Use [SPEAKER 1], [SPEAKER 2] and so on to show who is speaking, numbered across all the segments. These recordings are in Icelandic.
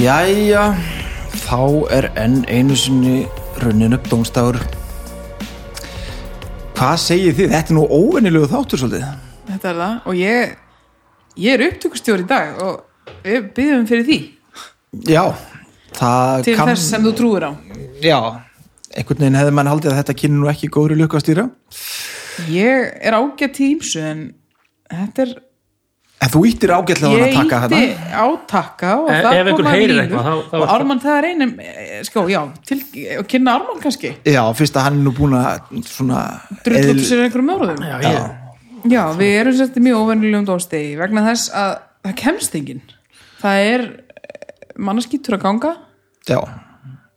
[SPEAKER 1] Jæja, þá er enn einu sinni runnin upp dómstafur. Hvað segir þið? Þetta er nú óvennilegu þáttur svolítið.
[SPEAKER 2] Þetta er það og ég, ég er upptökustjóri í dag og við byggjum fyrir því
[SPEAKER 1] Já, það
[SPEAKER 2] til þess sem þú trúir á.
[SPEAKER 1] Já, einhvern veginn hefði mann haldið að þetta kynni nú ekki góðri lukku að stýra.
[SPEAKER 2] Ég er ágætt í ímsu en þetta er,
[SPEAKER 1] En þú íttir ágætlega á hann að
[SPEAKER 2] ég
[SPEAKER 1] taka
[SPEAKER 2] ítti
[SPEAKER 1] þetta.
[SPEAKER 2] átakka og
[SPEAKER 3] E- ef
[SPEAKER 2] það
[SPEAKER 3] einhver
[SPEAKER 2] koma
[SPEAKER 3] heyrir
[SPEAKER 2] línur.
[SPEAKER 3] eitthvað, þá- þá er
[SPEAKER 2] og
[SPEAKER 3] það-
[SPEAKER 2] Ármann það er einum, sko, já, til, og kynna Ármann kannski,
[SPEAKER 1] Já, fyrst að hann er nú búin að svona...
[SPEAKER 2] drull upp
[SPEAKER 1] eðl-
[SPEAKER 2] sér einhverjum orðum.
[SPEAKER 3] Já, ég,
[SPEAKER 2] Já, við erum sérst í mjög óvennilegum dómstegi vegna þess að það kemst enginn. Það er mannskýtur að ganga,
[SPEAKER 1] Já,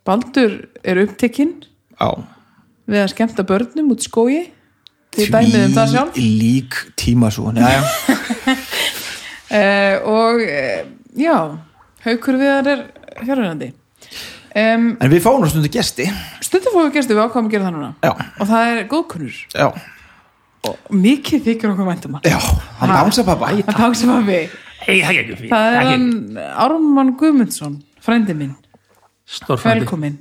[SPEAKER 2] Baldur er upptekinn
[SPEAKER 1] já.
[SPEAKER 2] við að skemmta börnum út í skói því dæmið um það sjálf
[SPEAKER 1] Því Lík tíma svo. Já, já.
[SPEAKER 2] uh, og uh, já, haukur viðar er fjárhverjandi um,
[SPEAKER 1] En við fáum nú stundu gesti.
[SPEAKER 2] stundum fóðu gerstu við ákvæm að gera það núna
[SPEAKER 1] Já,
[SPEAKER 2] og það er góðkunnur
[SPEAKER 1] já,
[SPEAKER 2] og mikið þykir okkur væntum hann
[SPEAKER 1] já. Hann
[SPEAKER 2] Ha.
[SPEAKER 1] bánsa pappa.
[SPEAKER 2] það tók sem að við
[SPEAKER 3] Hey, það gekk upp
[SPEAKER 2] það
[SPEAKER 3] í- það
[SPEAKER 2] er
[SPEAKER 3] gekk
[SPEAKER 2] hann Ármann Guðmundsson frændi minn,
[SPEAKER 3] Stórfændi.
[SPEAKER 2] velkomin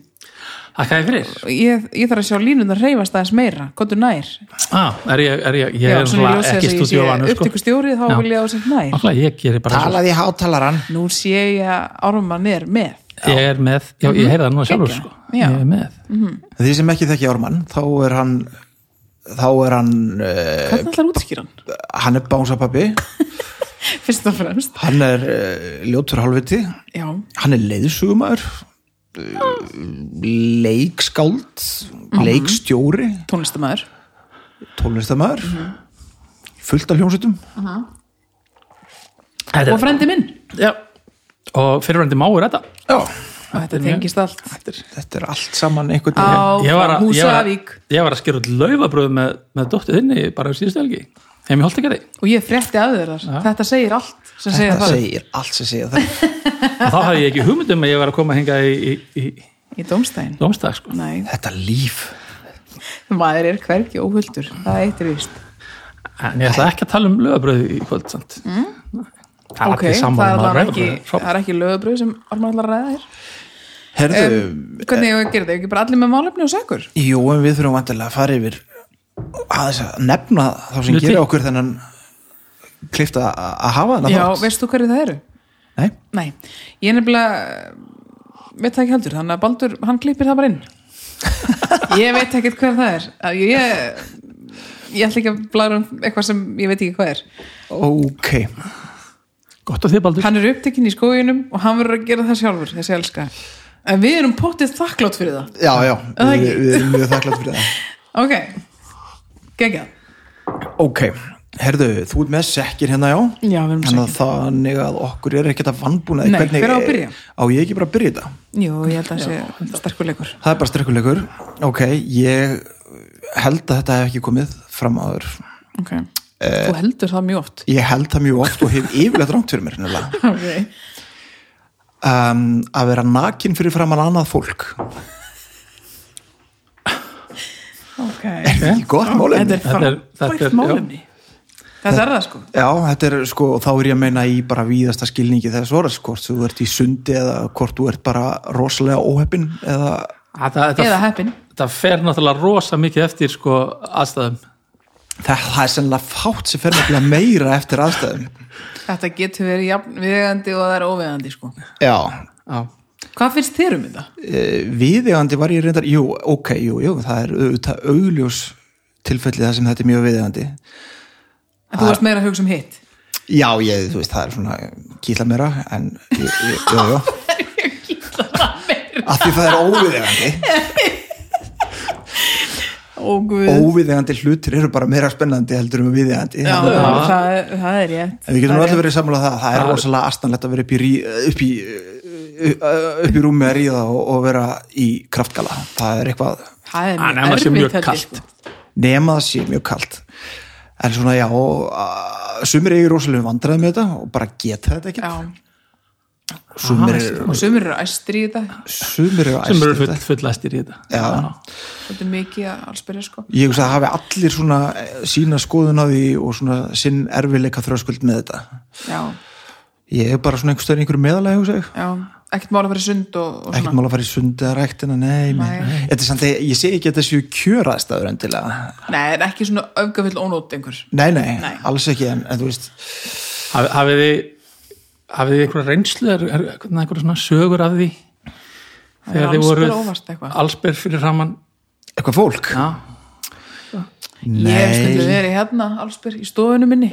[SPEAKER 3] Þakka þér fyrir.
[SPEAKER 2] Og ég, ég þarf að sjá línundar reyfast aðeins meira, gott er nær
[SPEAKER 3] Ah, er ég, er ég, ég
[SPEAKER 2] Já, svona
[SPEAKER 3] er
[SPEAKER 2] í
[SPEAKER 3] svona
[SPEAKER 2] ljósi
[SPEAKER 3] ekki
[SPEAKER 2] þess að ég
[SPEAKER 3] stúdíu
[SPEAKER 2] sé
[SPEAKER 3] vanur, sko.
[SPEAKER 2] upptökustjórið, þá
[SPEAKER 3] Já.
[SPEAKER 2] vil ég á sem nær.
[SPEAKER 3] Nákvæmlega, ég gerir bara svo.
[SPEAKER 1] Talaði hátalaran.
[SPEAKER 2] nú sé ég að Ármann er með
[SPEAKER 3] Ég er með, já, ég heyrði það núna sjálfur,
[SPEAKER 2] Geggjað.
[SPEAKER 3] sko.
[SPEAKER 2] Mhm. Já.
[SPEAKER 3] Ég er með.
[SPEAKER 1] Því sem ekki þekki Ármann, þá er hann þá er hann uh,
[SPEAKER 2] hvernig ætlar að útskýra hann?
[SPEAKER 1] hann er bánsapappi,
[SPEAKER 2] fyrst og fremst
[SPEAKER 1] hann er uh, ljótur hálfviti,
[SPEAKER 2] já,
[SPEAKER 1] hann er leiðsugumæður leikskáld Mhm. leikstjóri,
[SPEAKER 2] tónlistamæður
[SPEAKER 1] tónlistamæður fullt af hljómsveitum
[SPEAKER 3] Þetta er-
[SPEAKER 2] og frendi minn
[SPEAKER 3] Já. Og fyrirvændi máur þetta.
[SPEAKER 1] Já,
[SPEAKER 2] og þetta tengist allt
[SPEAKER 1] þetta er allt saman einhvern veginn
[SPEAKER 2] á
[SPEAKER 3] Ég var að, ég var að,
[SPEAKER 2] Húsavík
[SPEAKER 3] ég var að skera út laufabröð með, með dóttu þinni bara um síðustu helgi. Heim í Holtagerði.
[SPEAKER 2] og ég frétti að þér þar þetta segir allt sem segir
[SPEAKER 1] það
[SPEAKER 2] það
[SPEAKER 1] segir allt sem segir það
[SPEAKER 3] Og þá hafði ég ekki hugmynd um að ég var að koma hinga í, í, í
[SPEAKER 2] í domstæðin
[SPEAKER 3] domstag, sko.
[SPEAKER 2] Nei,
[SPEAKER 1] þetta líf
[SPEAKER 2] maður er hvergi óhulltur það eitt er vist
[SPEAKER 3] En ég ætla ekki að tala um laufabröð í kvöld, sant? Mm? Það er
[SPEAKER 2] Mhm. ok,
[SPEAKER 3] allir
[SPEAKER 2] það er
[SPEAKER 3] saman um að
[SPEAKER 2] allan ekki,
[SPEAKER 3] laufabröð.
[SPEAKER 2] það er ekki lögabröð sem Ármann ætlar að ræða þér
[SPEAKER 1] Herðu,
[SPEAKER 2] hvernig ég gerir þetta, ekki bara allir með málefni og sögur
[SPEAKER 1] jú, en við þurfum vantilega að fara yfir aðeins að nefna þá sem
[SPEAKER 3] Hluti.
[SPEAKER 1] gerir okkur þennan klifta að að hafa þennan
[SPEAKER 2] já,
[SPEAKER 1] þátt.
[SPEAKER 2] veist þú hverju það eru?
[SPEAKER 1] Nei,
[SPEAKER 2] nei, ég nefnilega eh, veit það ekki heldur, þannig að Baldur hann klippir það bara inn ég veit ekkert hver það er Að ég, ég ætla ekki að blára um eitthvað sem ég veit ekki hvað er
[SPEAKER 1] ok
[SPEAKER 3] Gott og þið, Baldur.
[SPEAKER 2] hann er upptekinn í skóginum og hann verður að gera það sjálfur þessi elska en við erum pottið þakklátt fyrir það
[SPEAKER 1] Já, já,
[SPEAKER 2] það
[SPEAKER 1] við,
[SPEAKER 2] ekki?
[SPEAKER 1] við erum mjög þakklátt fyrir það
[SPEAKER 2] ok, geggjað
[SPEAKER 1] Ok, herðu, þú ert með sekkir hérna, já
[SPEAKER 2] Já, við erum með
[SPEAKER 1] Þannig að Þannig að okkur er ekkert að vannbúna
[SPEAKER 2] Nei, hver á að byrja?
[SPEAKER 1] Á ég ekki bara að byrja þetta?
[SPEAKER 2] jú, ég held að það sé sterkuleikur
[SPEAKER 1] Það er bara strekkuleikur Ok, ég held að þetta hef ekki komið fram áður
[SPEAKER 2] ok, þú heldur það mjög oft
[SPEAKER 1] Ég held það mjög oft og hef yfirlega drangt fyrir mér nefnilega.
[SPEAKER 2] ok,
[SPEAKER 1] um, Að vera nakin fyrir framan annað fólk
[SPEAKER 2] ok
[SPEAKER 1] Það er ekki gott málefni
[SPEAKER 2] þetta er
[SPEAKER 3] Þetta er- þetta er-
[SPEAKER 2] frábært málumni þetta er það sko
[SPEAKER 1] Já, þetta er sko, og þá er ég að meina í bara víðasta skilningi þess orðs, hvort þú ert í sundi eða hvort þú ert bara rosalega óheppin eða,
[SPEAKER 3] Þetta, þetta,
[SPEAKER 2] eða heppin
[SPEAKER 3] þetta fer náttúrulega rosa mikið eftir sko aðstæðum
[SPEAKER 1] það, það er sennilega fátt sem fer nefnilega meira eftir aðstæðum.
[SPEAKER 2] Þetta getur verið jafn viðegandi og það er óviðegandi sko.
[SPEAKER 1] Já.
[SPEAKER 3] Já.
[SPEAKER 2] Hvað finnst þér um þetta?
[SPEAKER 1] Viðegandi Eh, var ég reyndar, jú, ok, jú, jú, það er auðvitað augljós tilfelli það sem þetta er mjög viðegandi.
[SPEAKER 2] En þú varst meira að hugsa um hitt
[SPEAKER 1] Já, ég, þú veist, það er svona kýla meira, en, jú, jú, jú, jú. Af því það er óviðegandi.
[SPEAKER 2] Óguð
[SPEAKER 1] Óviðegandi hlutir eru bara meira spennandi heldur um viðegandi.
[SPEAKER 2] Já,
[SPEAKER 1] Þannig að-
[SPEAKER 2] það, er- það er rétt
[SPEAKER 1] En við getum
[SPEAKER 2] Það er
[SPEAKER 1] allir
[SPEAKER 2] rétt.
[SPEAKER 1] verið sammála um það, það er rosalega astanlegt að vera upp í, rí, upp í, uh, upp í rúmi að ríða og, og vera í kraftgala. Það er eitthvað,
[SPEAKER 2] Það er
[SPEAKER 3] Hann er
[SPEAKER 2] mjög
[SPEAKER 3] annars
[SPEAKER 2] erfitt
[SPEAKER 3] Ah, mjög
[SPEAKER 2] held ég,
[SPEAKER 3] kalt.
[SPEAKER 2] sko.
[SPEAKER 1] nema það sé mjög kalt. En svona já, og, uh, sumir eigin rosalega vandræði með þetta og bara geta þetta ekki.
[SPEAKER 2] Já,
[SPEAKER 1] Sumir,
[SPEAKER 2] og sumir eru æstri í þetta
[SPEAKER 1] sumir eru
[SPEAKER 3] sem eru
[SPEAKER 1] æstir
[SPEAKER 3] full,
[SPEAKER 1] þetta.
[SPEAKER 3] fullastir í þetta
[SPEAKER 1] Já.
[SPEAKER 2] Þetta er mikið að allsbyrja sko
[SPEAKER 1] Ég hugsa að hafi allir svona eh, sína skoðun á því og svona sinn erfileika þröskuld með þetta.
[SPEAKER 2] Já,
[SPEAKER 1] Ég er bara svona einhver stöðin einhverju meðalega, hugsa ég.
[SPEAKER 2] já ekkert mála fyrir sund og, og
[SPEAKER 1] ekkert
[SPEAKER 2] svona
[SPEAKER 1] mál að fara í sundaræktina, nei, nei.
[SPEAKER 2] Nei.
[SPEAKER 1] nei. Þetta er samt að ég segi ekki að þetta séu kjöraðstæður endilega,
[SPEAKER 2] nei, en ekki svona öfgafull ónót einhver
[SPEAKER 1] nei, nei,
[SPEAKER 2] Nei.
[SPEAKER 1] alls ekki en, en þú veist,
[SPEAKER 3] Hafið- hafið þið hafið þið einhverja reynslu er, er, hvernig einhverja svona sögur af því þegar þið
[SPEAKER 2] allsber
[SPEAKER 3] voruð
[SPEAKER 2] óvart eitthvað.
[SPEAKER 3] allsber fyrir framann
[SPEAKER 1] eitthvað fólk
[SPEAKER 3] já,
[SPEAKER 2] ég hef stundu
[SPEAKER 1] nei,
[SPEAKER 2] verið hérna allsbyr í stofunum minni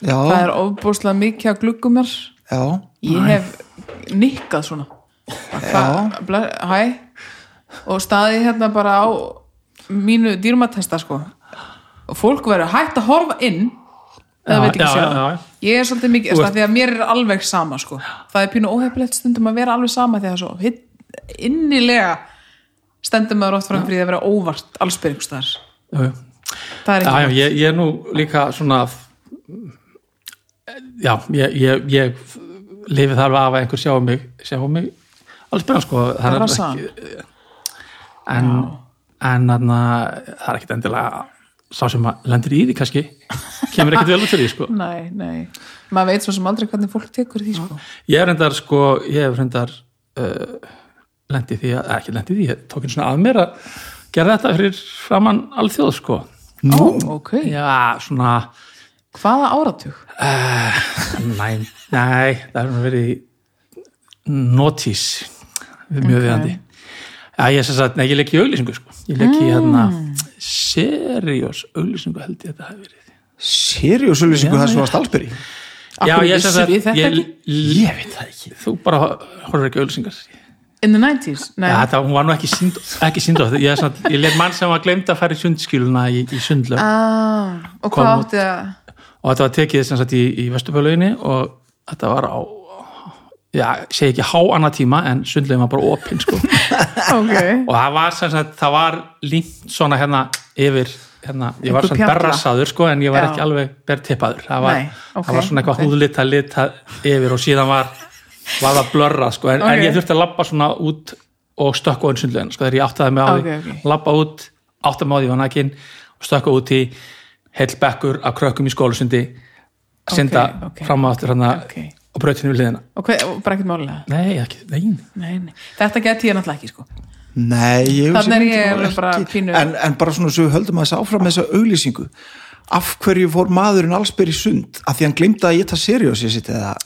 [SPEAKER 2] það
[SPEAKER 1] já,
[SPEAKER 2] er ofbúslega mikið að gluggum mér
[SPEAKER 1] já
[SPEAKER 2] ég hef nikkað svona Hva- ble- hæ og staðið hérna bara á mínu dýrmatesta sko og fólk verður hægt að horfa inn eða
[SPEAKER 3] Já,
[SPEAKER 2] veit ekki
[SPEAKER 3] já,
[SPEAKER 2] sjá
[SPEAKER 3] já, já.
[SPEAKER 2] ég er svolítið mikið,
[SPEAKER 3] Þú
[SPEAKER 2] það því að mér er alveg sama sko, það er pínu óhefnilegt stundum að vera alveg sama því að svo hitt, innilega stendum maður oft fram fyrir því að vera óvart allsbyrjumstæðar,
[SPEAKER 3] já, já.
[SPEAKER 2] það er
[SPEAKER 3] Já, já,
[SPEAKER 2] ekki
[SPEAKER 3] ég, ég er nú líka svona já, ég, ég, ég lifi þar af að einhver sjá mig sjá mig alveg spyrna sko það
[SPEAKER 2] Það
[SPEAKER 3] er
[SPEAKER 2] var
[SPEAKER 3] ekki en, en þarna, það er ekkit endilega sá sem að lendir í því kannski kemur ekkit vel út fyrir því sko
[SPEAKER 2] nei, nei, maður veit svo sem aldrei hvernig fólk tekur því sko
[SPEAKER 3] ég er reyndar sko, ég hef reyndar uh, lendi því að, eh, ekki lendi því ég tók einu svona að mér að gera þetta fyrir framann alþjóð sko
[SPEAKER 2] Ó, ok,
[SPEAKER 3] já, svona
[SPEAKER 2] hvaða áratug?
[SPEAKER 3] Nei, nei, það er nú verið notís mjög okay. viðandi Já, ég sem sagt, nei, ég leik í auglýsingu sko. ég leik í hérna seriós auglýsingu held ég að þetta hafi verið
[SPEAKER 1] Sirius auðlýsingu það sem varst allsbyrji
[SPEAKER 2] Af hverju
[SPEAKER 3] ég
[SPEAKER 2] vissum við þetta
[SPEAKER 3] ég,
[SPEAKER 2] ekki?
[SPEAKER 3] ég veit það ekki þú bara horfður ekki á auglýsingar Já,
[SPEAKER 2] In the 90s? Nei,
[SPEAKER 3] þetta, hún var nú ekki sínd ekki sínd á þetta, ég, sem sagt- ég leik mann sem var glemt að fara í sundskiluna í, í sundlöf
[SPEAKER 2] ah, og
[SPEAKER 3] Kom
[SPEAKER 2] hvað
[SPEAKER 3] út.
[SPEAKER 2] átti að
[SPEAKER 3] og þetta var tekið sem sagt í, í Vesturbjörlauginni og þetta var á já, ég segi ekki há annar tíma en sundlegin var bara opinn sko
[SPEAKER 2] ok,
[SPEAKER 3] og það var sem sagt, það var límt svona hérna yfir hérna, ég var
[SPEAKER 2] Einhver
[SPEAKER 3] svona
[SPEAKER 2] pjalla.
[SPEAKER 3] berrasaður sko en ég var
[SPEAKER 2] Já.
[SPEAKER 3] ekki alveg bertippaður það var,
[SPEAKER 2] Nei, ok,
[SPEAKER 3] það var svona eitthvað
[SPEAKER 2] ok.
[SPEAKER 3] okay. húðlita lita yfir og síðan var var það blörra sko en,
[SPEAKER 2] Ok.
[SPEAKER 3] en ég þurfti að labba svona út og stökka út sundlegin sko þegar ég áttaði mig á því
[SPEAKER 2] Ok, ok.
[SPEAKER 3] labba út, áttaði mig á því var nakin og stökka út í heill bekkur af krökkum í skólusundi synda
[SPEAKER 2] ok.
[SPEAKER 3] fram og aftur hann
[SPEAKER 2] Ok.
[SPEAKER 3] og brautinu við liðina
[SPEAKER 2] og hvað, og bara ekkert málega
[SPEAKER 3] nei, ekki, nei
[SPEAKER 2] nei, nei. þetta geti ég náttúrulega ekki sko
[SPEAKER 1] Nei, ég hugsa
[SPEAKER 2] Þarna er
[SPEAKER 1] ekki,
[SPEAKER 2] ég
[SPEAKER 1] það var
[SPEAKER 2] bara
[SPEAKER 1] ekki-
[SPEAKER 2] pínu-
[SPEAKER 1] en, en bara svona svo við höldum að þess áfram með þessa auglýsingu af hverju fór maðurinn allsbyr í sund af því hann glimta að ég það seriós ég sitt eða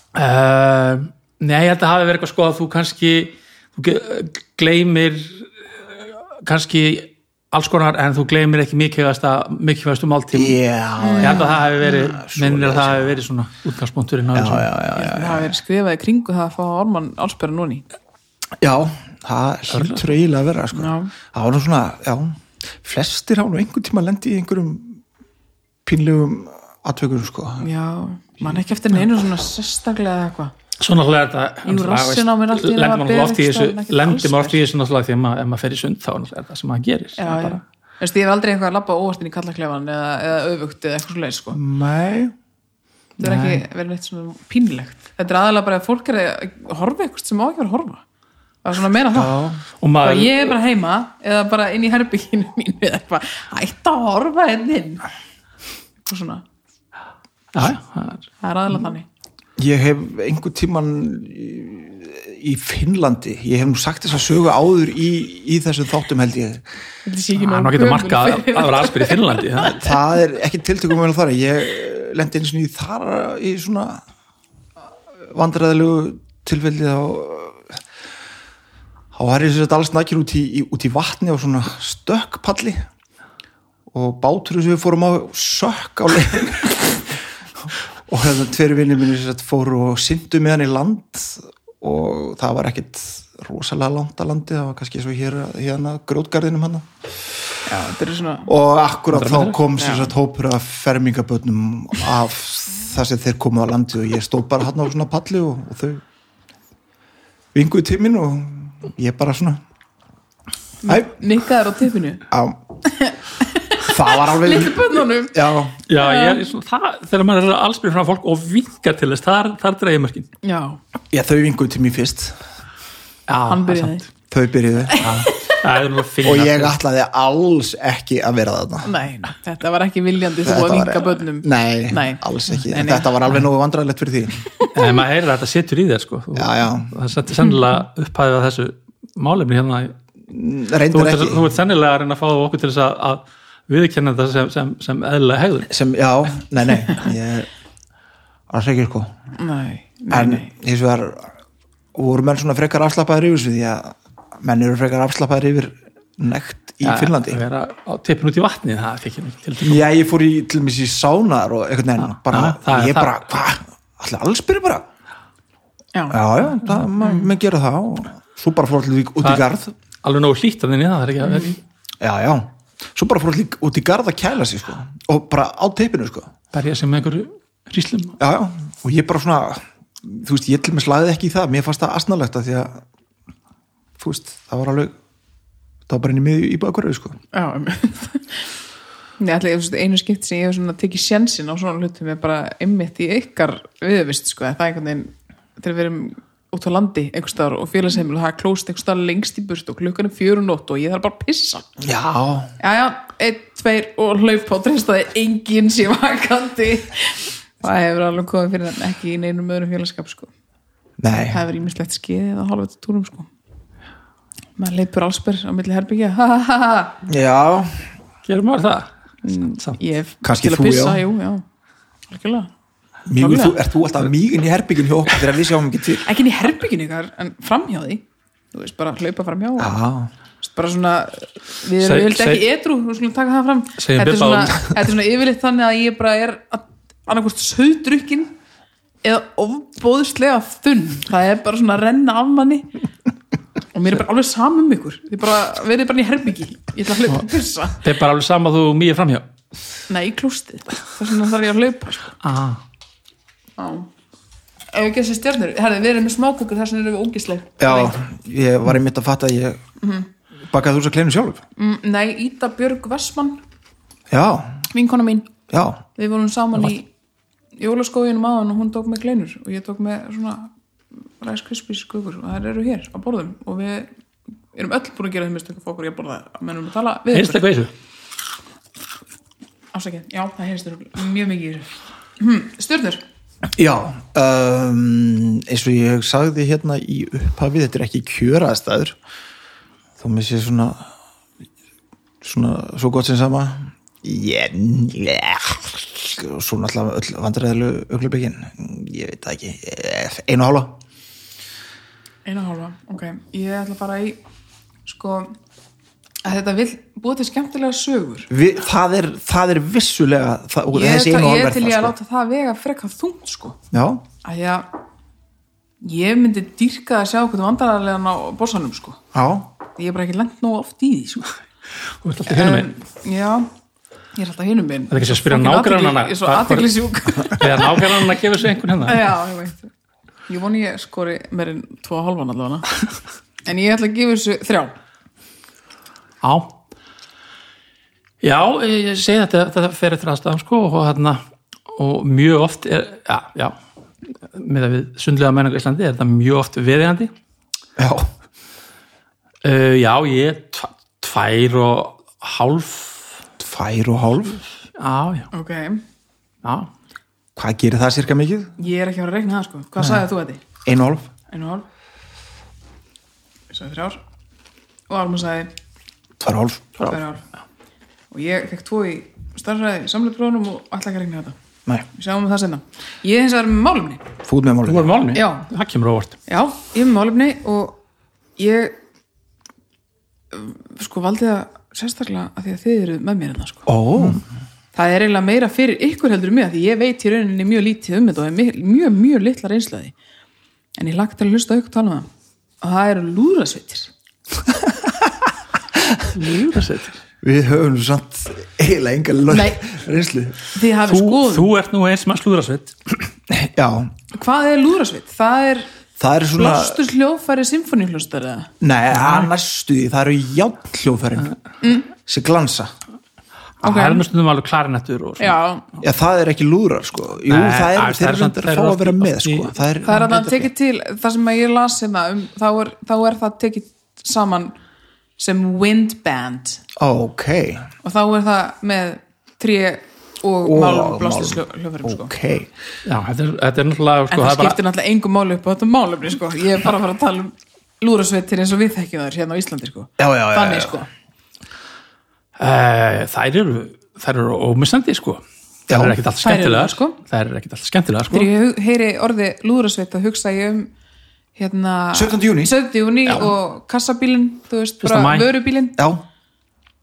[SPEAKER 3] Uh, nei, ég held að hafi verið eitthvað sko að þú kannski þú ge- gleymir uh, kannski alls konar en þú gleymir ekki mikilvægasta mikilvægastu máltíma
[SPEAKER 1] já,
[SPEAKER 3] ég held að það hafi verið, minnir að það hafi verið svona útgangspunkturinn á þessu já, já,
[SPEAKER 2] það hafi verið skrifað í kringu það að fá orman allsbyrra núni
[SPEAKER 1] já það hlýtur eiginlega að vera sko.
[SPEAKER 2] Já.
[SPEAKER 1] það var nú svona, já flestir hafa nú einhvern tíma lendi í einhverjum pínlegum atveikurum sko
[SPEAKER 2] já, mann ekki eftir neinu svona sérstaklega eða eitthvað
[SPEAKER 3] svona hlæða þetta
[SPEAKER 2] Jú, rassinn á mér allt í einu var
[SPEAKER 3] lendir maður oft í
[SPEAKER 2] berið
[SPEAKER 3] þessu
[SPEAKER 2] staðan, ekkert
[SPEAKER 3] lendir
[SPEAKER 2] alls
[SPEAKER 3] maður oft í þessu náttúrulega því að maður- ef maður fer í sund þá er náttúrulega það sem maður gerir
[SPEAKER 2] já,
[SPEAKER 3] Það er
[SPEAKER 2] já,
[SPEAKER 3] bara-
[SPEAKER 2] veist ég hef aldrei eitthvað að labba óvart inn í kallaklefan eða, eða öfugt eða eitthvað svo leið sko
[SPEAKER 1] nei,
[SPEAKER 2] þetta er ekki verið neitt svona pínlegt þetta er aðalega bara að fólk er að horfa eitthvað sem má ekki vera að horfa það er svona meira það Bara
[SPEAKER 3] og maður,
[SPEAKER 2] ég er bara heima eða bara inn í herbygginu mínu eða eitthvað, hætt að horfa henn inn og svona,
[SPEAKER 3] já, já, það er-
[SPEAKER 2] það er aðalega þannig
[SPEAKER 1] ég hef einhvern tíman í, í Finnlandi ég hef nú sagt þess að sögu áður í, í þessum þáttum held ég
[SPEAKER 2] Þetta sé ekki
[SPEAKER 3] það
[SPEAKER 2] nógu
[SPEAKER 3] er Ah, nú getur
[SPEAKER 2] gömul
[SPEAKER 3] markað að
[SPEAKER 2] fyrir
[SPEAKER 3] það var aðspyr í Finnlandi það er-
[SPEAKER 1] það er ekki tiltökum vel þar ég eh, lendi eins og nýð þar í svona vandræðilegu tilfelli þá eh, þá var ég sér að alls nakir út í, í- út í vatni á svona stökkpalli og bátur sem við fórum á sökk á leiðin og hérna tveir vinnir minni sér að fóru og syndu með hann í land og það var ekkit rosalega langt að landi það var kannski svo hér, hérna grjótgarðinum hann
[SPEAKER 2] Já, þetta er svona
[SPEAKER 1] og akkurat þá kom sem sagt hópur af fermingabötnum af það sem þeir komu á landi og ég stóð bara hann á svona palli og, og þau vinguði til mín og ég bara svona Æ,
[SPEAKER 2] nikkaður á tippinu
[SPEAKER 1] á það var alveg
[SPEAKER 2] Littu bönnunum
[SPEAKER 1] já,
[SPEAKER 3] Já, ég, svona, það, þegar maður er að allsbyrja frá fólk og vinkar til þess, þar, þar dreigir mörkin
[SPEAKER 2] Já,
[SPEAKER 1] já, þau vinguði til mín fyrst
[SPEAKER 3] Já,
[SPEAKER 2] hann
[SPEAKER 3] Ah, það er
[SPEAKER 2] byrjaði
[SPEAKER 3] satt.
[SPEAKER 1] þau byrjuðu
[SPEAKER 3] það er nú að finna
[SPEAKER 1] og ég ætlaði alls ekki að vera þarna
[SPEAKER 2] Nei, nei, þetta var ekki viljandi þú
[SPEAKER 1] Þetta
[SPEAKER 2] að
[SPEAKER 1] var-
[SPEAKER 2] vinka börnum
[SPEAKER 1] Nei,
[SPEAKER 2] Nei.
[SPEAKER 1] alls ekki,
[SPEAKER 2] Nei,
[SPEAKER 1] en
[SPEAKER 2] nei.
[SPEAKER 1] þetta var alveg nógu vandræðilegt fyrir því
[SPEAKER 3] en maður heyrir að þetta setur í þér sko og
[SPEAKER 1] Já, já.
[SPEAKER 3] það er senn- sennilega upphæðið að þessu málefni hérna þú
[SPEAKER 1] reyndar
[SPEAKER 3] ert,
[SPEAKER 1] ekki
[SPEAKER 3] þú ert sennilega að reyna að fá okkur til þess að, að viðurkenna þetta sem, sem, sem eðlilega hegður
[SPEAKER 1] sem, já, nei, nei ég, alls ekki sko
[SPEAKER 2] Nei, nei,
[SPEAKER 1] en
[SPEAKER 2] nei
[SPEAKER 1] hins vegar voru menn svona frekar afslappaðir yfir þessu því að menn eru frekar afslappaðir yfir nekt í Finnlandi
[SPEAKER 3] að vera á tippin út í vatni það fikk ég nú til
[SPEAKER 1] Já, ég fór í, til dæmis í sánar og einhvern veginn, bara,
[SPEAKER 3] já, það er
[SPEAKER 1] ég
[SPEAKER 3] það.
[SPEAKER 1] bara, hvað, allir alls byrja bara,
[SPEAKER 2] Já,
[SPEAKER 1] já, já, það, maður mm. gera það og svo bara fór allir út í
[SPEAKER 3] Það-
[SPEAKER 1] garð,
[SPEAKER 3] alveg nógu hlýtt af þinni það er ekki að
[SPEAKER 1] já, já, svo bara fór allir út í garð að kæla sig, sko, og bara á teipinu, sko,
[SPEAKER 3] berja sig með einhverju ríslum
[SPEAKER 1] já, já, og ég bara svona, þú veist, ég til mig slagði ekki í það, mér fannst það asnalegt að því að, þú veist, það var alveg, það var bara inn í miðju í bakverðu, sko,
[SPEAKER 2] já Nei, allir, þú veist, einu skipt sem ég hef svona tekið sjensin á svona hlutum er bara einmitt í ykkar viðvist, sko, en það er einhvern veginn þegar við erum út á landi einhvers staðar og félagsheimil og það er klóst einhvers staðar lengst í burt og klukkan er fjör og nótt og ég þarf bara að pissa
[SPEAKER 1] já,
[SPEAKER 2] Já, já, einn, tveir og hlaup og treystaði enginn sé vakandi Það hefur alveg komið fyrir en ekki í neinum öðrum félagskap, sko
[SPEAKER 1] nei,
[SPEAKER 2] það hefur ímislegt skeðið að hálfa til túrum sko maður leipur allsberg á milli herbyggja ha, ha, ha, ha.
[SPEAKER 1] já,
[SPEAKER 3] gerum maður það Samt- samt.
[SPEAKER 2] ég hef
[SPEAKER 1] Kannski
[SPEAKER 2] til að
[SPEAKER 1] þú,
[SPEAKER 2] pissa
[SPEAKER 1] já.
[SPEAKER 2] jú, já. algjörlega
[SPEAKER 1] mjög,
[SPEAKER 2] Nákvæmlega.
[SPEAKER 1] þú, ert þú alltaf mýgin í herbyggin hjá okkur þegar við sjáum ekki til,
[SPEAKER 2] ekki inn í herbyggjun ykkar, en framhjá því þú veist bara hlaupa framhjá og,
[SPEAKER 1] já,
[SPEAKER 2] Veist, bara svona, við
[SPEAKER 3] Seg-
[SPEAKER 2] erum yfirleitt
[SPEAKER 3] seg-
[SPEAKER 2] ekki edru við skulum taka það fram
[SPEAKER 3] Segjum
[SPEAKER 2] þetta er,
[SPEAKER 3] við
[SPEAKER 2] svona,
[SPEAKER 3] báðum.
[SPEAKER 2] þetta er svona yfirleitt þannig að ég bara er annarkvort söðdrukkin eða ofbóðslega þunn það er bara svona að renna af manni og mér er bara alveg saman um ykkur þið bara, verið bara í herbyggi ég ætla að hlaupa að pissa
[SPEAKER 3] þetta er bara alveg sama þú mýja framhjá
[SPEAKER 2] nei, í klústið, það er svona þarf ég að hlaupa sko.
[SPEAKER 3] ah.
[SPEAKER 2] á ef við gessi stjarnir, herði, við erum með smákökur þess vegna erum við ógisleg
[SPEAKER 1] Já, ég var einmitt að fatta að ég bakaði þú svo kleinu sjálf
[SPEAKER 2] Mm, nei, Íta Björg Vessmann
[SPEAKER 1] Já,
[SPEAKER 2] vinkona mín
[SPEAKER 1] já,
[SPEAKER 2] við vorum saman í jólaskóginum aðan og hún tók með kleinur og ég tók með svona Rice Krispies skukur og þær eru hér á borðum og við erum öll búin að gera þeim mistökum fókur ég borða það, mennum að tala við
[SPEAKER 3] heyrst eitthvað í þessu?
[SPEAKER 2] ásækja, já það heyrst þér mjög mikið í þessu hm, stjörnur,
[SPEAKER 1] já um, eins og ég sagði hérna í upphafi þetta er ekki kjöraðstæður þó mér sé svona svona svo gott sem sama ég og svo náttúrulega öll vandræðilu auglubikinn, ég veit það ekki eh, einu og hálfa
[SPEAKER 2] einu og hálfa ok, ég ætla að fara í sko, að þetta vil búið til skemmtilega sögur
[SPEAKER 1] Vi, það, er, það er vissulega það, og
[SPEAKER 2] ég,
[SPEAKER 1] þessi
[SPEAKER 2] ætla-
[SPEAKER 1] einu sko. og
[SPEAKER 2] ég
[SPEAKER 1] hálfa
[SPEAKER 2] er til ég að
[SPEAKER 1] er það
[SPEAKER 2] láta það vega frekka þungt
[SPEAKER 1] sko.
[SPEAKER 2] sko
[SPEAKER 1] já,
[SPEAKER 2] að því að ég myndi dýrka að sjá hvernig vandararlegan á borsanum sko
[SPEAKER 1] já,
[SPEAKER 2] ég er bara ekki lengt nóg oft í því sko.
[SPEAKER 3] þú ert alltaf hinum
[SPEAKER 2] En,
[SPEAKER 3] einn
[SPEAKER 2] já, ég er alltaf hinum minn
[SPEAKER 3] Það er ekki að spyrja nágrannana
[SPEAKER 2] ég er svo aðteglisjúk
[SPEAKER 3] eða nágrannana gefur sig einhvern hérna
[SPEAKER 2] já, ég veit ég voni ég skori meir en tvo hálfan allavega en ég ætla að gefa þessu þrjá
[SPEAKER 3] Já Já, ég segi þetta þetta fer eftir aðstæðan sko og, hérna, og mjög oft er, já, já með að við sundlega menningu í Íslandi er þetta mjög oft viðeigandi
[SPEAKER 1] já,
[SPEAKER 3] uh, Já, ég er tv- tvær og hálf
[SPEAKER 1] tvær og hálf
[SPEAKER 3] Já, já,
[SPEAKER 2] ok,
[SPEAKER 3] já
[SPEAKER 1] hvað gerir það cirka mikið?
[SPEAKER 2] ég er ekki að fara að regna það sko hvað sagði þú þetta?
[SPEAKER 1] einu og hálf,
[SPEAKER 2] einu og hálf ég sagði þrjár og Alma sagði
[SPEAKER 1] tvær og hálf
[SPEAKER 2] þrjár hálf og ég fekk tvo í starfræði samleiprófnum og ætla ekki að regna þetta
[SPEAKER 1] Nei,
[SPEAKER 2] við sjáum það senna ég hins vegar er með málumni
[SPEAKER 1] þú ert með
[SPEAKER 3] Þú
[SPEAKER 1] málið
[SPEAKER 3] voru málunni?
[SPEAKER 2] Já.
[SPEAKER 3] Það kemur óvart
[SPEAKER 2] Já, ég er með málefni og ég um, sko valdi það sérstaklega að því að þið eru með mér hérna sko.
[SPEAKER 1] Ó,
[SPEAKER 2] Það er eiginlega meira fyrir ykkur heldur mig að því ég veit í rauninni mjög lítið um þetta og er mjög, mjög, mjög litla reynslaði en ég lagt til að hlusta á ykkur tala um það og það eru lúðrasveitir
[SPEAKER 3] Lúðrasveitir
[SPEAKER 1] við höfum nú samt eiginlega enga
[SPEAKER 2] Nei.
[SPEAKER 1] lög reynslu
[SPEAKER 2] Þið hafið
[SPEAKER 3] þú,
[SPEAKER 2] skoðum
[SPEAKER 3] þú ert nú eins manns lúðrasveit
[SPEAKER 1] Já,
[SPEAKER 2] Hvað er lúðrasveit? Það er
[SPEAKER 1] það eru svona
[SPEAKER 2] blástur hljófæri symfóníuhlustar eða?
[SPEAKER 1] Nei, það næstu því, það eru játnhljóðfærin mm. sem glansa
[SPEAKER 2] Ok.
[SPEAKER 3] Það er nú stundum alveg klarinettur og svona.
[SPEAKER 2] Já,
[SPEAKER 1] Já, það er ekki lúðrar, sko Jú,
[SPEAKER 3] Nei,
[SPEAKER 1] það
[SPEAKER 3] að-
[SPEAKER 1] er, þeir
[SPEAKER 3] það er
[SPEAKER 1] eru
[SPEAKER 3] samt-
[SPEAKER 1] reyndar
[SPEAKER 3] þeir
[SPEAKER 1] að fá að
[SPEAKER 3] eru oft
[SPEAKER 1] vera
[SPEAKER 3] í-
[SPEAKER 1] með,
[SPEAKER 3] oft í-
[SPEAKER 1] sko Það er,
[SPEAKER 2] það er alltaf tekið til það sem að ég las hérna um, þá, er, þá er það tekið saman sem windband
[SPEAKER 1] ok,
[SPEAKER 2] og þá er það með tré og
[SPEAKER 1] Og
[SPEAKER 2] málblástis
[SPEAKER 1] mál-
[SPEAKER 2] hljóðverðum sko.
[SPEAKER 1] ok
[SPEAKER 3] Já, þetta er, þetta er náttúrulega
[SPEAKER 2] en
[SPEAKER 3] sko,
[SPEAKER 2] það
[SPEAKER 3] er bara-
[SPEAKER 2] skiptir náttúrulega engum máli upp á þetta málefni sko. ég er bara að fara að tala um lúrasveitir eins og við þekkjum þar hérna á Íslandi sko.
[SPEAKER 1] Já, já, já,
[SPEAKER 2] þannig
[SPEAKER 1] já.
[SPEAKER 2] sko
[SPEAKER 3] Eh, þær eru, þær eru ómissandi sko þær
[SPEAKER 1] Já.
[SPEAKER 3] eru ekkert alltaf
[SPEAKER 2] Þær eru
[SPEAKER 3] skemmtilega
[SPEAKER 2] það, sko.
[SPEAKER 3] þær eru ekkert alltaf skemmtilega sko
[SPEAKER 2] þegar ég hug- heyri orði lúrasveit þá hugsa ég um hérna
[SPEAKER 1] 17. júní.
[SPEAKER 2] 17. júní og kassabílin þú veist,
[SPEAKER 3] Fyrsta
[SPEAKER 2] bara
[SPEAKER 3] maí.
[SPEAKER 2] vörubílin
[SPEAKER 1] já,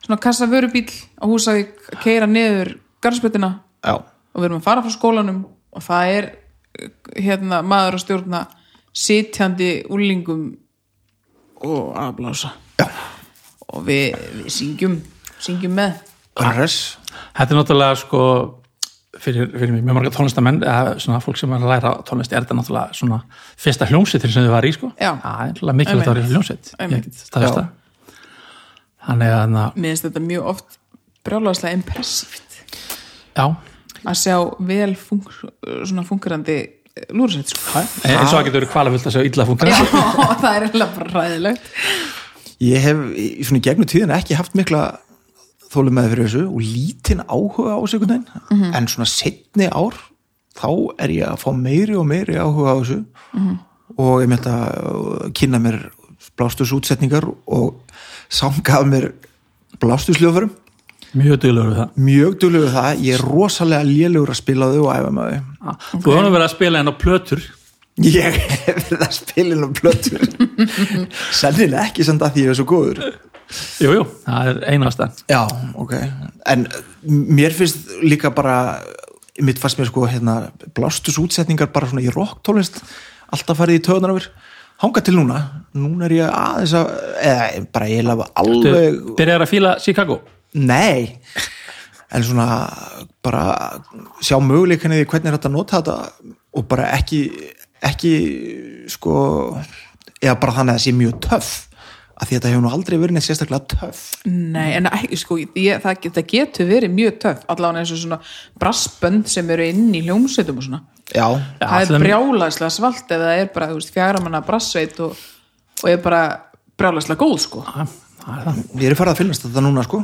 [SPEAKER 2] svona kassavörubíl á Húsavík keira niður garðspötina
[SPEAKER 1] já,
[SPEAKER 2] og við erum að fara frá skólanum og það er uh, hérna maður að stjórna sitjandi úlingum og að blása
[SPEAKER 1] já
[SPEAKER 2] og við, við syngjum syngjum með
[SPEAKER 1] bara res
[SPEAKER 3] þetta er náttúrulega sko fyrir, fyrir mjög marga tónlistamenn eða svona fólk sem er að læra tónlist er þetta náttúrulega svona fyrsta hljómsveitin sem þau var í sko
[SPEAKER 2] Já.
[SPEAKER 3] það er náttúrulega mikilvægt að
[SPEAKER 2] Einmitt.
[SPEAKER 3] vera í hljómsveit ég
[SPEAKER 2] Einmitt.
[SPEAKER 3] get
[SPEAKER 1] Já.
[SPEAKER 3] staðist það þannig að na,
[SPEAKER 2] mér finnst þetta mjög oft brjálagslega impressíft
[SPEAKER 3] já
[SPEAKER 2] að sjá vel funk, svona funkurandi lúrsett sko.
[SPEAKER 3] E, eins og að getur verið kvalafullt að segja illa funkar
[SPEAKER 2] Já, það er eiginlega bara ræðilegt
[SPEAKER 1] ég hef í í svona gegnum tíðina ekki haft mikla þólum með fyrir þessu og lítinn áhuga á þessu einhvern veginn en svona setni ár þá er ég að fá meiri og meiri áhuga á þessu og ég myndi að uh, kynna mér blástusútsetningar og sangað mér blástusljófurum
[SPEAKER 3] mjög duðlegur við það
[SPEAKER 1] mjög duglegur við það, ég er rosalega lélugur að spila þau og æfa með þau
[SPEAKER 3] þú hefur verið að spila henn á plötur
[SPEAKER 1] ég hef verið að spila inn á plötur sennilega ekki samt að því ég er svo góður
[SPEAKER 3] jú, jú, það er einasta
[SPEAKER 1] já, ok en mér finnst líka bara mitt fannst mér sko hérna, blástus útsetningar bara svona í rocktónlist alltaf farið í töðunar á mér hanga til núna, núna er ég aðeins að eða bara ég lafa alveg
[SPEAKER 3] byrjar að fíla Chicago
[SPEAKER 1] Nei en svona bara sjá möguleikinni því hvernig er þetta að nota þetta og bara ekki ekki sko eða bara þannig að það sé mjög töff af því þetta hefur nú aldrei verið neitt sérstaklega töff
[SPEAKER 2] Nei, en ekki, sko, ég, það, það getur verið mjög töff allavega eins og svona brassbönd sem eru inn í hljómsveitum og svona
[SPEAKER 1] Já,
[SPEAKER 3] Já,
[SPEAKER 2] það
[SPEAKER 3] til
[SPEAKER 2] er
[SPEAKER 3] dæmis-
[SPEAKER 2] brjálæslega svalt ef það er bara, þú veist, fjara manna brassveit og, og er bara brjálæslega góð, sko.
[SPEAKER 3] Já, það er það
[SPEAKER 1] ég er farið að finnast þetta núna sko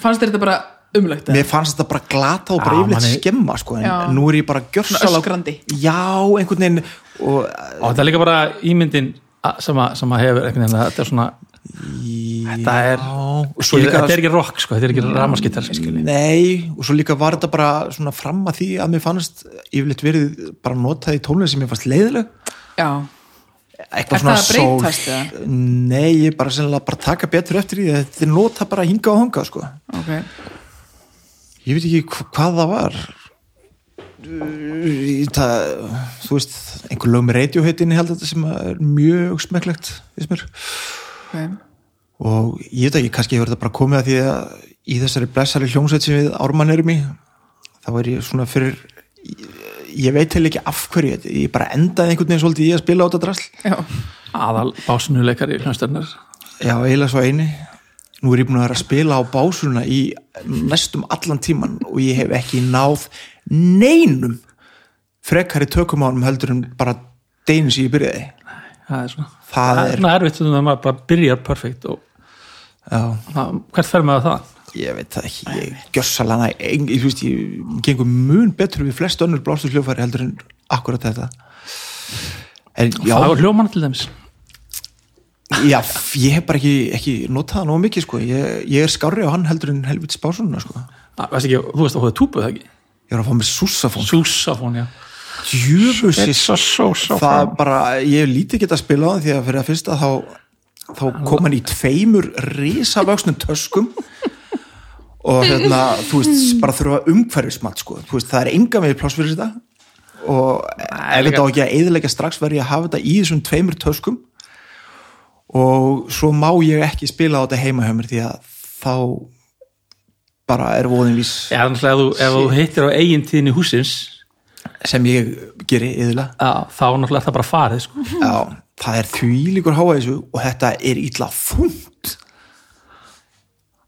[SPEAKER 2] Fannst þér þetta bara umlögt?
[SPEAKER 1] Mér fannst þetta bara glata og bara
[SPEAKER 3] Já,
[SPEAKER 1] yfirleitt
[SPEAKER 3] manni-
[SPEAKER 1] skemma sko en
[SPEAKER 2] Já.
[SPEAKER 1] nú er ég bara gjörsala
[SPEAKER 2] Svona öskrandi.
[SPEAKER 1] Já, einhvern veginn og
[SPEAKER 3] og þetta er líka bara ímyndin að- sem að, sem að hefur einhvern veginn að þetta er svona þetta er,
[SPEAKER 1] og svo líka
[SPEAKER 3] þetta er ekki rock sko, þetta er ekki ramaskittar
[SPEAKER 1] Nei, og svo líka var þetta bara svona fram að því að mér fannst yfirleitt verið bara notað í tónlist sem ég fannst leiðileg
[SPEAKER 2] Já,
[SPEAKER 1] eitthvað
[SPEAKER 2] Er það að
[SPEAKER 1] soul-
[SPEAKER 2] breytast, eða?
[SPEAKER 1] Nei, ég bara sennilega bara taka betur eftir því að þetta er nota bara hinga og hanga sko.
[SPEAKER 2] ok.
[SPEAKER 1] Ég veit ekki hva- hvað það var Í það, Þú veist, einhver lög með radioheitin held þetta sem er mjög smekklegt finnst mér.
[SPEAKER 2] okay.
[SPEAKER 1] og ég veit ekki, kannski hefur þetta bara komið að því að í þessari blessari hljómsveit sem við ármann erum í þá er ég svona fyrir ég veit heil ekki af hverju þetta- ég bara endaði einhvern veginn svolítið í að spila á þetta drasl
[SPEAKER 2] Já.
[SPEAKER 3] aðal básunuleikari hljónstarnar
[SPEAKER 1] já, eiginlega svo eini nú er ég búin að vera að spila á básuna í næstum allan tíman og ég hef ekki náð neinum frekari tökum á honum heldur en bara deginum sem ég byrjaði
[SPEAKER 3] það er svona,
[SPEAKER 1] Það er-
[SPEAKER 3] svona erfitt þannig að maður bara byrjar perfekt og
[SPEAKER 1] já
[SPEAKER 3] það, hvert fer maður það?
[SPEAKER 1] ég veit það ekki, ég gjössalana ég, ég, veist, ég gengur mun betur við flest önnur blástur hljófæri heldur en akkurat þetta en já,
[SPEAKER 3] það er hljóman til dæmis
[SPEAKER 1] já f- ég hef bara ekki, ekki notað það nóg mikið sko. ég, ég er skárri á hann heldur en helvits básununa sko.
[SPEAKER 3] það, veist ekki, þú veist að hóða túpu það ekki
[SPEAKER 1] ég er að fá mér súsafón
[SPEAKER 3] súsafón, já
[SPEAKER 1] djöfusis, það er
[SPEAKER 3] súsafón
[SPEAKER 1] bara ég hef lítið geta að spila á það því að fyrir að fyrsta þá, þá kom hann í tveimur risavöksnum töskum og hérna þú veist, bara þurfa umhverfismat sko. Þú veist, það er enga með pláss fyrir þetta og ef
[SPEAKER 3] líka-
[SPEAKER 1] þetta á ekki að eðilega strax verð ég að hafa þetta í þessum tveimur töskum og svo má ég ekki spila á þetta heima hjá mér því að þá bara er voðinvís
[SPEAKER 3] já, þannig að þú, ef þú hittir á eigin tíðinni húsins
[SPEAKER 1] sem ég geri eðilega
[SPEAKER 3] að, þá náttúrulega er það bara farið sko.
[SPEAKER 1] Já, það er því líkur háa þessu og þetta er illa þungt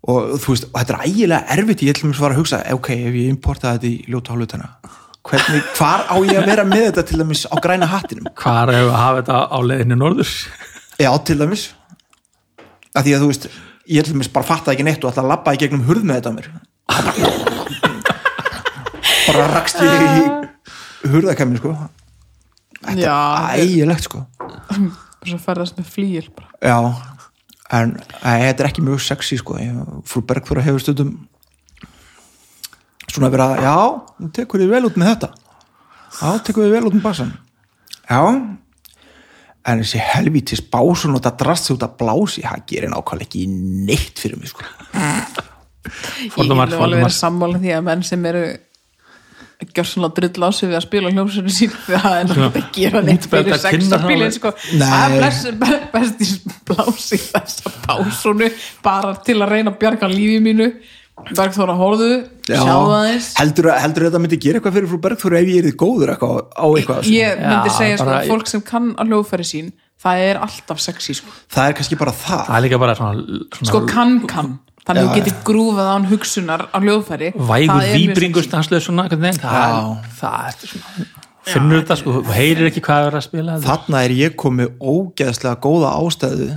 [SPEAKER 1] og þú veist, og þetta er ægilega erfitt ég ætlum svara að hugsa, ok, ef ég importa þetta í ljóta hálutana hvernig, hvar á ég að vera með þetta til dæmis á græna hattinum
[SPEAKER 3] hvar hefur að hafa þetta á leiðinni norður
[SPEAKER 1] já, til dæmis að því að þú veist ég til mér bara fattaði ekki neitt og alltaf labbaði gegnum hurð með þetta á mér bara rakst ég í hurðakæmin sko
[SPEAKER 2] Já,
[SPEAKER 1] ægilegt sko
[SPEAKER 2] svo ferðast með flýil bara.
[SPEAKER 1] já, en æ, þetta er ekki mjög sexy sko Ég- frú Bergfura hefur stundum svona verið að já, nú tekur þið vel út með þetta já, tekur þið vel út með bassan já en þessi helvítis básun og þetta drast út að blási, það gerir nákvæmlega ekki neitt fyrir mig sko
[SPEAKER 3] Fordómar,
[SPEAKER 2] ég vil alveg
[SPEAKER 3] fordómar.
[SPEAKER 2] vera sammála því að menn sem eru gjörsanlega drull á sig við að spila hljómsöru sín það er náttúrulega að gera neitt
[SPEAKER 3] útbelta
[SPEAKER 2] fyrir sex
[SPEAKER 3] kinnar
[SPEAKER 2] að bílinn
[SPEAKER 3] alveg.
[SPEAKER 2] sko
[SPEAKER 1] Nei.
[SPEAKER 2] að bless, be- best í blási þessa pásunu bara til að reyna að bjarga lífi mínu Bergþóra horðu,
[SPEAKER 1] Já.
[SPEAKER 2] sjáða þess
[SPEAKER 1] heldur, heldur þetta myndi gera eitthvað fyrir frú Bergþór ef ég er góður eitthvað á eitthvað af þessu?
[SPEAKER 2] ég myndi
[SPEAKER 3] Já,
[SPEAKER 2] segja sko
[SPEAKER 3] bara-
[SPEAKER 2] að fólk sem kann að hljóðfæri sín það er alltaf sexy sko,
[SPEAKER 1] það er kannski bara það
[SPEAKER 3] það er líka bara svona, svona
[SPEAKER 2] sko kann kann þannig að þú getur grúfað án hugsunar á hljóðfæri það
[SPEAKER 3] vægur
[SPEAKER 2] er mjög
[SPEAKER 3] víbringur
[SPEAKER 2] sexy.
[SPEAKER 3] stanslöð svona, hvernig, það, er, það er svona finnur þetta sko, þú heyrir ekki hvað er að spila
[SPEAKER 1] þarna er ég komið ógeðslega góða ástæðu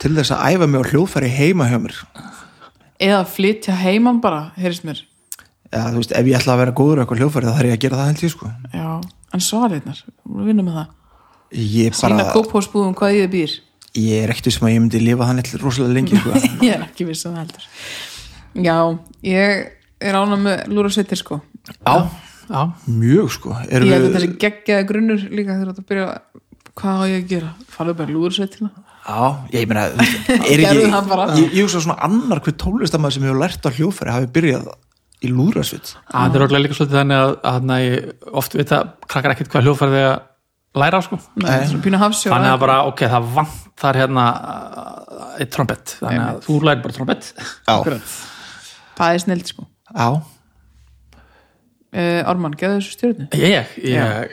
[SPEAKER 1] til þess að æfa mig á hljóðfæri heima hjá mér
[SPEAKER 2] eða flytja heiman bara, heyrðist mér
[SPEAKER 1] eða þú veist, ef ég ætla að vera góður á eitthvað hljóðfæri þá þarf ég að gera það held ég sko
[SPEAKER 2] Já, en svarirnar, við vinnum með það
[SPEAKER 1] ég,
[SPEAKER 2] Sýna
[SPEAKER 1] bara,
[SPEAKER 2] kóphósbúðum hvað ég býr
[SPEAKER 1] ég er ekkert sem að ég myndi lifa þannig rosalega lengi sko.
[SPEAKER 2] Ég er ekki viss um það heldur Já, ég er ánum með lúra sveitir sko
[SPEAKER 3] já, já,
[SPEAKER 1] mjög sko Erum
[SPEAKER 2] Ég
[SPEAKER 1] við-
[SPEAKER 2] held að þessi geggjaði grunnur líka þegar þú ert að byrja hvað á ég að gera, farðu bara lúra sveitina
[SPEAKER 1] Já, ég meina, þú veist, er
[SPEAKER 2] Gerðu það bara.
[SPEAKER 1] ekki ég, ég hugsa svona annar hver tónlistamæður sem hefur lært á hljóðfæri hafi byrjað í lúrasvitt
[SPEAKER 3] það er orðlega líka svolítið þannig að, að na, ég oft vita krakkar ekkert hvað hljóðfærið er að læra á sko
[SPEAKER 2] Nei, svona pínu hafsjó
[SPEAKER 3] þannig að bara, ok, það vantar hérna uh, eitt trombett, þannig að þú lærir bara trombett
[SPEAKER 1] Já,
[SPEAKER 2] Það er snild sko
[SPEAKER 1] já
[SPEAKER 2] uh, Ármann, geðu þessu stjórnu
[SPEAKER 3] ég, ég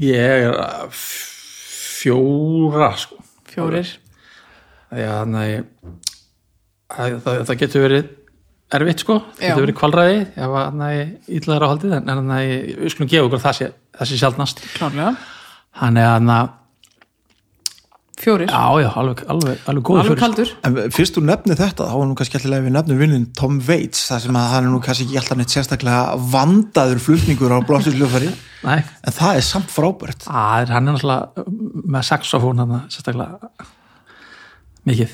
[SPEAKER 3] ég er uh, f- fjóra sko
[SPEAKER 2] Fjórir
[SPEAKER 3] Já, þannig að það, það, það getur verið erfitt sko, það
[SPEAKER 2] Já.
[SPEAKER 3] getur verið kvalræði ef að þannig ítlaður á haldið en þannig að við skulum gefa okkur að það sé, það sé sjaldnast
[SPEAKER 2] Klárlega
[SPEAKER 3] þannig að þannig að,
[SPEAKER 2] Fjórir,
[SPEAKER 3] já, já, alveg, alveg, alveg góð
[SPEAKER 2] alveg kaldur
[SPEAKER 1] En fyrst þú nefnir þetta, þá er nú kannski alltaf við nefnum vinnin Tom Waits, þar sem að hann er nú kannski ekki alltaf neitt sérstaklega vandaður flutningur á blástusljófari,
[SPEAKER 3] Nei,
[SPEAKER 1] en það er samt frábært.
[SPEAKER 3] að, hann er náttúrulega um, með saxofón hann sérstaklega mikið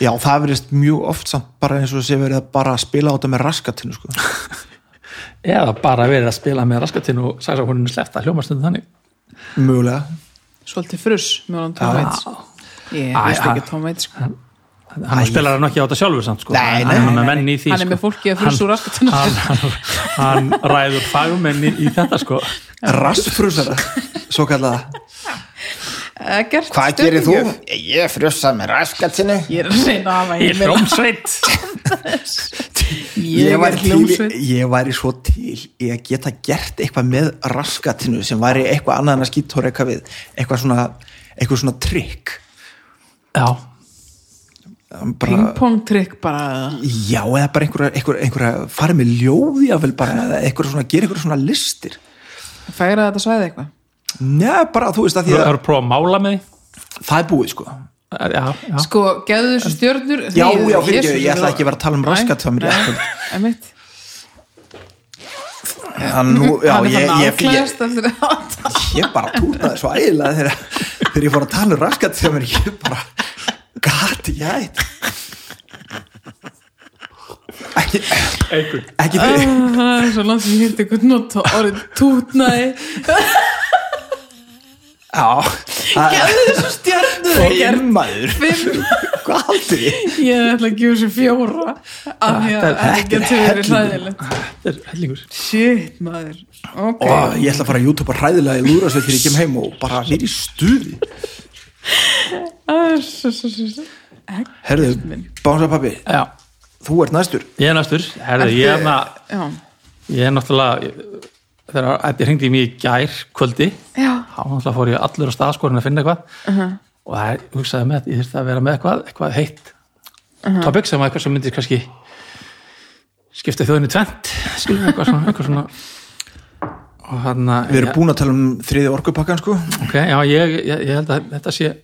[SPEAKER 1] Já, það verðist mjög oft samt bara eins og sé verið að bara spila á þetta með raskatinu, sko.
[SPEAKER 3] eða bara verið að spila með raskatinn og saxofóninu sleppta hljómastundu þannig
[SPEAKER 1] Mögulega.
[SPEAKER 2] Svolítið fruss með honum Tom Waits Ég
[SPEAKER 3] Æ,
[SPEAKER 2] veist ekki
[SPEAKER 3] hann-
[SPEAKER 2] Tom Waits sko
[SPEAKER 3] hann hann spilar hann ekki á þetta sjálfur samt sko.
[SPEAKER 1] Nei, nei,
[SPEAKER 3] hann er
[SPEAKER 1] nei,
[SPEAKER 3] með menn í því
[SPEAKER 2] Hann er með
[SPEAKER 3] sko.
[SPEAKER 2] fólki að fruss
[SPEAKER 3] Hann-
[SPEAKER 2] úr raskatunum
[SPEAKER 3] hann, hann, hann ræður fagmenn í, í þetta sko
[SPEAKER 1] Raskfrusara, svo kallaða.
[SPEAKER 2] Ekkert
[SPEAKER 1] Hvað gerir þú?
[SPEAKER 2] stundum.
[SPEAKER 1] Ég frussa með raskatinu.
[SPEAKER 2] Ég er að reyna að hafa
[SPEAKER 3] í hljómsveit
[SPEAKER 2] Ég er hljómsveit
[SPEAKER 1] ég væri svo til í að geta gert eitthvað með raskatinu sem væri eitthvað annað en að skýttóra eitthvað við, eitthvað svona, eitthvað svona trikk.
[SPEAKER 3] já,
[SPEAKER 1] Bara,
[SPEAKER 2] Pingpongtrykk bara
[SPEAKER 1] Já, eða bara einhverja, einhverja, einhverja farið með ljóði að vel bara eða einhverja svona, gera einhverja svona listir
[SPEAKER 2] Færa þetta svæði eitthvað
[SPEAKER 1] Nei, bara þú veist að því
[SPEAKER 3] það
[SPEAKER 1] að
[SPEAKER 3] eru prófa að mála með því
[SPEAKER 1] það er búið sko
[SPEAKER 3] já, já,
[SPEAKER 2] Sko, geðu þessu stjörnur
[SPEAKER 1] Já, já, fyrir ekki, ég ætla ekki að vera að tala um raskat hjá mér í kvöld.
[SPEAKER 2] Emitt
[SPEAKER 1] Þannig nú, já,
[SPEAKER 2] Hann er
[SPEAKER 1] ég,
[SPEAKER 2] þannig
[SPEAKER 1] ég, ég,
[SPEAKER 2] áklæðast eftir að
[SPEAKER 1] ég bara túrnaði svo ægilega þegar, þegar ég fór að tala um raskat hjá mér, ég bara gati, já ekki,
[SPEAKER 3] einhvern
[SPEAKER 1] ekki fyrir
[SPEAKER 2] Ah, Það er svo langt sem ég hefði eitthvað nota orðið tútnaði
[SPEAKER 1] Já, það er
[SPEAKER 2] Geðu þessu stjörnur ekkert
[SPEAKER 1] maður
[SPEAKER 2] Fimm,
[SPEAKER 1] Hvað haldur ég?
[SPEAKER 2] ég ætla að gefa þessu fjóra Af því að
[SPEAKER 3] Þetta
[SPEAKER 2] þetta
[SPEAKER 1] er
[SPEAKER 2] getur verið
[SPEAKER 1] hellingur.
[SPEAKER 2] hlæðilegt
[SPEAKER 3] þetta er hellingur
[SPEAKER 2] Shit, maður Ok,
[SPEAKER 1] Ó, ég ætla að fara að YouTube að ræðilega í lúrasveit þegar ég kem heim og bara nýri stuði
[SPEAKER 2] Ah, Herðu
[SPEAKER 1] Herðu, bánsa pappi,
[SPEAKER 3] já,
[SPEAKER 1] þú ert næstur
[SPEAKER 3] ég er næstur Herðu, ég, er na,
[SPEAKER 2] Já,
[SPEAKER 3] ég er náttúrulega ég- þegar Eddi hringdi í mig í gær kvöldi
[SPEAKER 2] já
[SPEAKER 3] þá náttúrulega fór ég allur á staðskorinn að finna eitthvað og það er- hugsaði með að ég þurfti að vera með eitthvað, eitthvað heitt topic sem að eitthvað sem myndi kannski skipta þjóðinu tvent skilur eitthvað svona, eitthvað svona og hann að
[SPEAKER 1] Við erum búin að tala um þriði orkupakkan sko
[SPEAKER 3] ok, já, ég, ég, ég held að þetta sé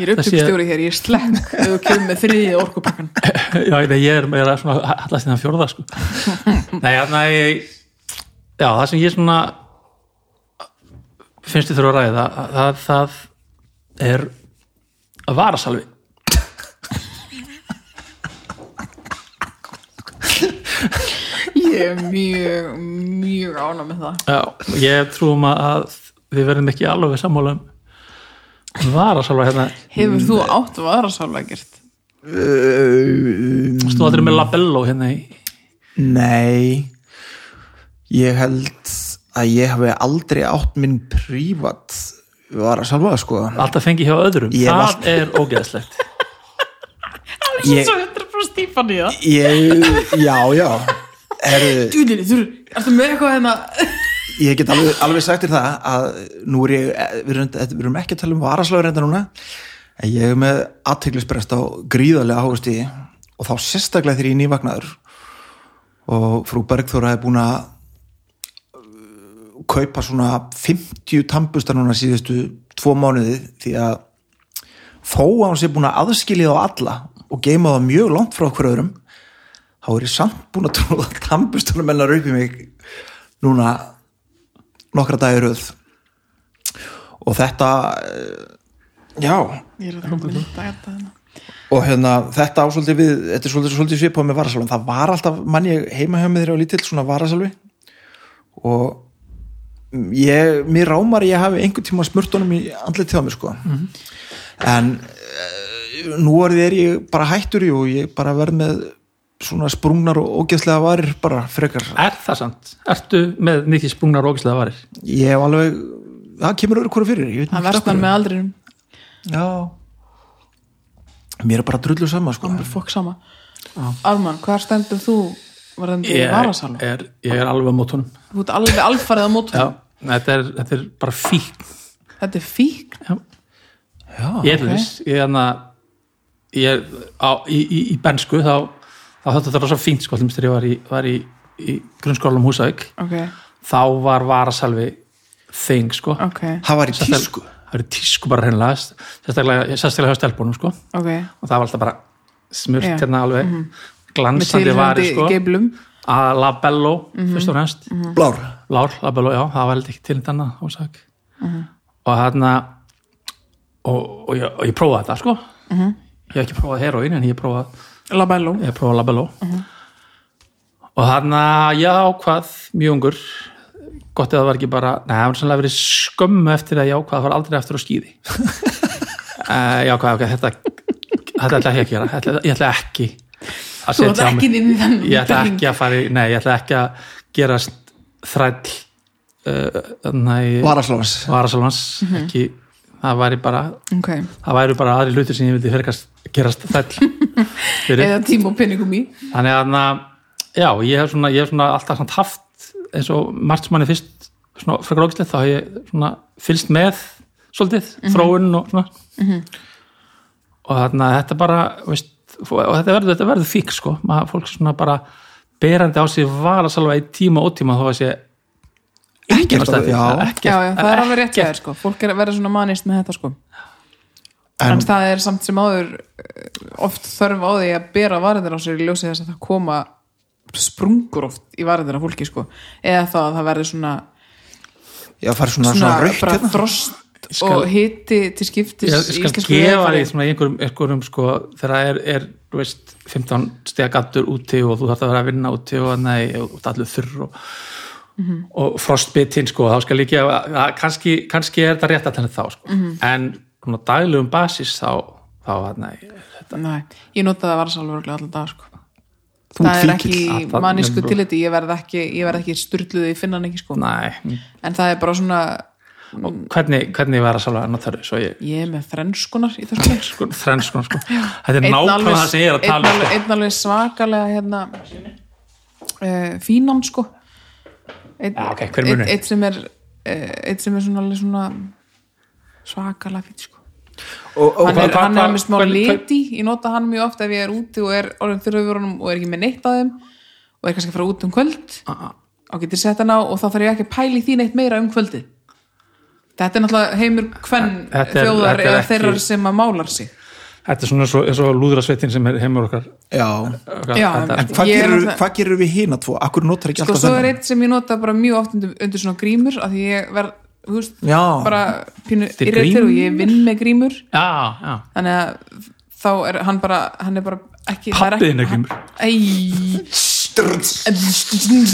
[SPEAKER 2] Ég er upptökustjóri hér, ég er slekk ef þú kemur með þriðið orkupakkan
[SPEAKER 3] já, nei, ég er meira svona allast innan fjórða sko. nei, já, nei, já, það sem ég svona finnst þið þurfa að ræða það, það er varasalvi
[SPEAKER 2] Ég er mjög, mjög ána með það
[SPEAKER 3] já, ég trúum að- að við verðum ekki alveg sammála um varasalva hérna
[SPEAKER 2] Hefur þú átt varasálfa gert?
[SPEAKER 1] Uh,
[SPEAKER 3] stóð allir með labello hérna í
[SPEAKER 1] nei ég held að ég hef aldrei átt minn prívat var að salva sko
[SPEAKER 3] alltaf fengi hjá öðrum,
[SPEAKER 1] Ég
[SPEAKER 3] það
[SPEAKER 1] valt-
[SPEAKER 3] er ógeðslegt
[SPEAKER 1] Ég-
[SPEAKER 2] Svo 100% tífan í það
[SPEAKER 1] ég, já, já
[SPEAKER 3] Eh.
[SPEAKER 1] Heru,
[SPEAKER 2] Dúlir, þú ertu með eitthvað hérna
[SPEAKER 1] ég get alveg, alveg sagt þér það að nú er ég, eh, við erum, þetta- við erum ekki að tala um varaslagur reynda núna en ég er með aðteglisbrest á gríðarlega háustíði og þá sérstaklega þegar ég er nývagnaður og frú Bergþóra hefði búin að uh, kaupa svona 50 tambusta núna síðustu tvo mánuði því að þó að hún sé búin að aðskilja á alla og geima það mjög langt frá okkur öðrum þá er ég samt búin að tróða tambustunum hennar upp í mig núna nokkra dagir auð og þetta eh, já
[SPEAKER 2] Ég er að það með lítið að þetta hérna
[SPEAKER 1] og hérna þetta á svolítið við þetta er svolítið, svolítið svipað með varasalvi það var alltaf mann ég heima hjá með þeirra á lítill svona varasalvi og ég, mér rámar að ég hafi einhvern tíma smurt honum í andlið á mér sko en uh, nú orðið er ég bara hættur í og ég bara verð með svona sprungnar og ógeðslega varir bara frekar
[SPEAKER 3] er það samt, ertu með mikið sprungnar og ógeðslega varir
[SPEAKER 1] ég hef alveg, það kemur öðru hverju fyrir ég veit
[SPEAKER 2] Það
[SPEAKER 1] ekki af
[SPEAKER 2] verðst
[SPEAKER 1] hverju.
[SPEAKER 2] hann með aldrinum,
[SPEAKER 1] Já Mér er bara drullu sama sko
[SPEAKER 2] hann er fokk sama Arman, hvað stendur þú varðandi
[SPEAKER 3] ég
[SPEAKER 2] varasálfa?
[SPEAKER 3] er, ég er alveg á mótunum
[SPEAKER 2] Þú ert alveg alfarið á mótum
[SPEAKER 3] já, þetta er, þetta er bara fíkn
[SPEAKER 2] Þetta er fík
[SPEAKER 3] já.
[SPEAKER 1] Já,
[SPEAKER 3] ég er okay. þess ég er hana ég er á, í, í, í bensku þá, þá þetta þetta rosa fínt sko til dæmis þegar ég var í, var í, í grunnskólanum Húsavík
[SPEAKER 2] Ok,
[SPEAKER 3] þá var varasalvi þing sko
[SPEAKER 2] ok,
[SPEAKER 1] það var í tísku
[SPEAKER 3] það eru tísku bara hreinlega sérstaklega, sérstaklega hjá stelpunum sko og
[SPEAKER 2] ok
[SPEAKER 3] það var alltaf bara smurt
[SPEAKER 2] Já.
[SPEAKER 3] hérna alveg
[SPEAKER 2] Með
[SPEAKER 3] glansandi
[SPEAKER 2] tilhengandi
[SPEAKER 3] vari sko
[SPEAKER 2] geiflum
[SPEAKER 3] að labello fyrst og fremst
[SPEAKER 1] Blár
[SPEAKER 3] Lár Labello, já, það var held ekki til þannig annað húsak
[SPEAKER 2] Mhm.
[SPEAKER 3] og þarna og, og, ég, og ég prófaði þetta sko
[SPEAKER 2] Mhm.
[SPEAKER 3] ég hef ekki prófað heroin en ég prófaði
[SPEAKER 2] Labello
[SPEAKER 3] ég prófaði Labello
[SPEAKER 2] Mhm.
[SPEAKER 3] og þarna, ég ákvað mjög ungur gott eða það var ekki bara neða, það var sannlega verið skömmu eftir að ég ákvað það var aldrei eftir á skýði uh, ég ákvað, ok, þetta þetta ætla ég ekki að gera, Þetta- ég ætla ekki að
[SPEAKER 2] Þú ert
[SPEAKER 3] á mig-
[SPEAKER 2] ekki inn í þennan
[SPEAKER 3] ég ætla
[SPEAKER 2] ring.
[SPEAKER 3] ekki að fara í, nei, ég ætla ekki að gerast þræll uh, nei,
[SPEAKER 1] Varaslófans
[SPEAKER 3] varasalvans ekki, það væri bara
[SPEAKER 2] Ok,
[SPEAKER 3] það væri bara aðri hlutir sem ég vildi fyrkast gerast þræll fyrir,
[SPEAKER 2] eða tíma og penningum í
[SPEAKER 3] þannig að na, já, ég hef svona, ég hef svona alltaf samt haft eins og margt sem manni fyrst svona frekar ógislegt, þá hef ég svona fylst með svolítið, þróun og svona og þarna þetta bara veist, og þetta verður, þetta verður fík sko maður fólk svona bara berandi á sig varasalva í tíma og ótíma þó að sé engin
[SPEAKER 1] Ekkert
[SPEAKER 3] ástæða
[SPEAKER 1] að-
[SPEAKER 3] fyrir
[SPEAKER 1] já.
[SPEAKER 3] það,
[SPEAKER 2] Já, já, það er alveg rétt hjá
[SPEAKER 3] ekkert
[SPEAKER 2] þér sko Fólk er að vera svona manist með þetta sko
[SPEAKER 1] En-
[SPEAKER 2] En það er samt sem áður eh, oft þörf á því að bera varðir á sér í ljósi þess að það koma sprungur oft í varðir á fólki sko eða þá að það verður svona
[SPEAKER 1] Já, farið svona, svona,
[SPEAKER 2] svona
[SPEAKER 1] svona raukt
[SPEAKER 2] bara
[SPEAKER 1] hérna
[SPEAKER 2] frost
[SPEAKER 3] skal-
[SPEAKER 2] og hiti til skiptis
[SPEAKER 3] ég,
[SPEAKER 2] í
[SPEAKER 3] ég skal
[SPEAKER 2] íslensku
[SPEAKER 3] gefa
[SPEAKER 2] veðurfari.
[SPEAKER 3] því svona í einhverjum, einhverjum sko, þegar það er, er þú veist, 15 stiga gattur úti og þú þarf að vera að vinna úti og nei, og það er allur þurr og,
[SPEAKER 2] Mhm.
[SPEAKER 3] og frostbitinn sko, þá skal ég gefa að, kannski, kannski er þetta rétt að þannig þá sko.
[SPEAKER 2] Mhm.
[SPEAKER 3] en svona á daglegum basis þá, þá að nei
[SPEAKER 2] Nei, ég nota það varðsálfur allan dag sko
[SPEAKER 1] Þú
[SPEAKER 2] það er
[SPEAKER 1] ert fíkill
[SPEAKER 3] Ah,
[SPEAKER 2] ekki
[SPEAKER 3] það-
[SPEAKER 2] mannisku
[SPEAKER 3] nefnir-
[SPEAKER 2] tilliti ég verð ekki, ég verð ekki styrluð í finnan ekki sko
[SPEAKER 3] Nei,
[SPEAKER 2] en það er bara svona, Mm.
[SPEAKER 3] hvernig, hvernig var að sálega notar þau, svo ég
[SPEAKER 2] ég er með þrenskunar í þessu leik.
[SPEAKER 3] sko, þrenn sko, sko. þetta er
[SPEAKER 2] Einn
[SPEAKER 3] nákvæmlega
[SPEAKER 2] alveg-
[SPEAKER 3] það sem ég er að tala
[SPEAKER 2] einn
[SPEAKER 3] um
[SPEAKER 2] alveg, einn alveg svakalega hérna uh, fínan sko einn
[SPEAKER 3] Já, ok, hver er munurinn?
[SPEAKER 2] einn- einn sem er uh, einn sem er svona, alveg svona svakalega fín sko
[SPEAKER 1] og, og,
[SPEAKER 2] hann
[SPEAKER 3] hvað-
[SPEAKER 2] er, hann er
[SPEAKER 3] hvað-
[SPEAKER 2] með smá
[SPEAKER 3] hvern- hvern-
[SPEAKER 2] liti ég nota hann mjög oft ef ég er úti og er orðin þurruvörunum og er ekki með neitt á þeim og er kannski að fara
[SPEAKER 3] Ah.
[SPEAKER 2] út um kvöld og getur sett hann á og þá þarf ég ekki að pæli því neitt meira um kvöldið Þetta er náttúrulega heimur hvern
[SPEAKER 3] Þetta er-
[SPEAKER 2] þjóðar
[SPEAKER 3] þetta er
[SPEAKER 2] eða
[SPEAKER 3] ekki-
[SPEAKER 2] þeirrar sem að málar sig
[SPEAKER 3] Þetta er svona svo, eins og lúðrasveitin sem er heimur okkar.
[SPEAKER 1] já,
[SPEAKER 3] okkar
[SPEAKER 2] Já,
[SPEAKER 3] þetta,
[SPEAKER 1] en hvað
[SPEAKER 2] Ég er
[SPEAKER 1] gerir,
[SPEAKER 2] náttúrulega-
[SPEAKER 1] hvað gerir við hína tvo? Akkur notar ekki
[SPEAKER 2] Sko,
[SPEAKER 1] alltaf
[SPEAKER 2] svo er eitt sem ég nota bara mjög oft undir, undir svona grímur af því ég verð, þú veist,
[SPEAKER 1] Já.
[SPEAKER 2] bara pínu
[SPEAKER 3] er
[SPEAKER 2] irritir og ég vinn með grímur
[SPEAKER 3] já, já.
[SPEAKER 2] þannig að þá er hann bara hann er bara ekki það
[SPEAKER 3] Pabbiðin er grímur.
[SPEAKER 2] Æ,
[SPEAKER 1] Strrrts.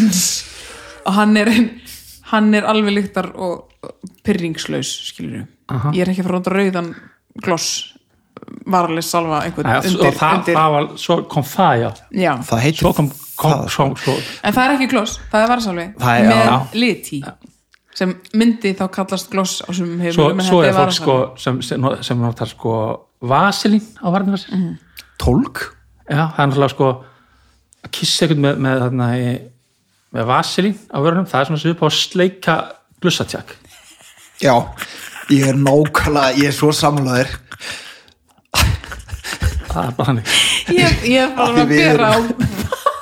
[SPEAKER 2] og hann er hann er alveg lyktar og pyrringslaus skilur
[SPEAKER 3] Aha.
[SPEAKER 2] ég er ekki að fara út að rauðan gloss varlega salva einhvern
[SPEAKER 3] Æ,
[SPEAKER 2] undir,
[SPEAKER 3] og það,
[SPEAKER 2] undir
[SPEAKER 3] það var, svo kom það, já.
[SPEAKER 2] já.
[SPEAKER 1] það heitir
[SPEAKER 3] Svo kom, kom
[SPEAKER 1] það,
[SPEAKER 3] svo, svo,
[SPEAKER 2] en það er ekki gloss, það er varsalvi
[SPEAKER 1] Það er-
[SPEAKER 2] með
[SPEAKER 1] já.
[SPEAKER 2] lit í sem myndi þá kallast gloss á sem hefur
[SPEAKER 3] svo, svo er fólk sko, sem, sem, no- sem notar sko vaselín á varðinu sér.
[SPEAKER 1] tólk
[SPEAKER 3] Já, það er náttúrulega sko að kissa einhvern með, með, þarna, í- með vaselín á vörunum, það er svona svipað á að sleika glussatjak.
[SPEAKER 1] já, ég er nákvæmlega ég er svo samlaður
[SPEAKER 3] Það er bara þannig.
[SPEAKER 2] ég, ég er bara að
[SPEAKER 1] Við erum-
[SPEAKER 2] bera á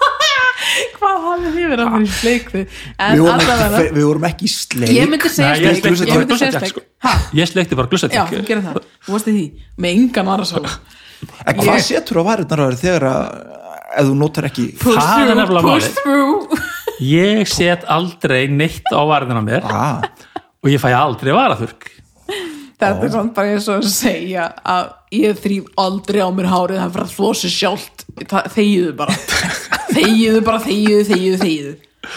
[SPEAKER 2] hvað hafði þið verið að fyrir sleikðu
[SPEAKER 1] við,
[SPEAKER 2] en
[SPEAKER 1] vorum
[SPEAKER 2] allavega
[SPEAKER 1] ekki- við vorum ekki í sleik
[SPEAKER 2] ég myndi segja
[SPEAKER 3] Nei,
[SPEAKER 2] sleik
[SPEAKER 3] ég sleikti
[SPEAKER 2] ég
[SPEAKER 3] bara
[SPEAKER 2] myndi segja
[SPEAKER 3] glussatjak.
[SPEAKER 2] sleik
[SPEAKER 3] Sko.
[SPEAKER 2] ha,
[SPEAKER 3] Ég sleikti bara
[SPEAKER 2] já,
[SPEAKER 3] glussatjak.
[SPEAKER 2] gera það, þú varst í því með engan varasál
[SPEAKER 1] en hvað
[SPEAKER 2] Ég-
[SPEAKER 1] setur á varirnar á þér þegar að ef þú notar ekki
[SPEAKER 2] push
[SPEAKER 3] Það er
[SPEAKER 2] through,
[SPEAKER 3] nefnilega
[SPEAKER 2] push
[SPEAKER 3] málið.
[SPEAKER 2] through
[SPEAKER 3] Ég set aldrei neitt á varðinu á mér
[SPEAKER 1] ah,
[SPEAKER 3] og ég fæ aldrei varaþurk.
[SPEAKER 2] þetta er samt bara eins og að segja að ég þrýf aldrei á mér hárið það er bara að þvó sér sjálft Það- þegiðu bara, þegiðu bara þegiðu, þegiðu, þegiðu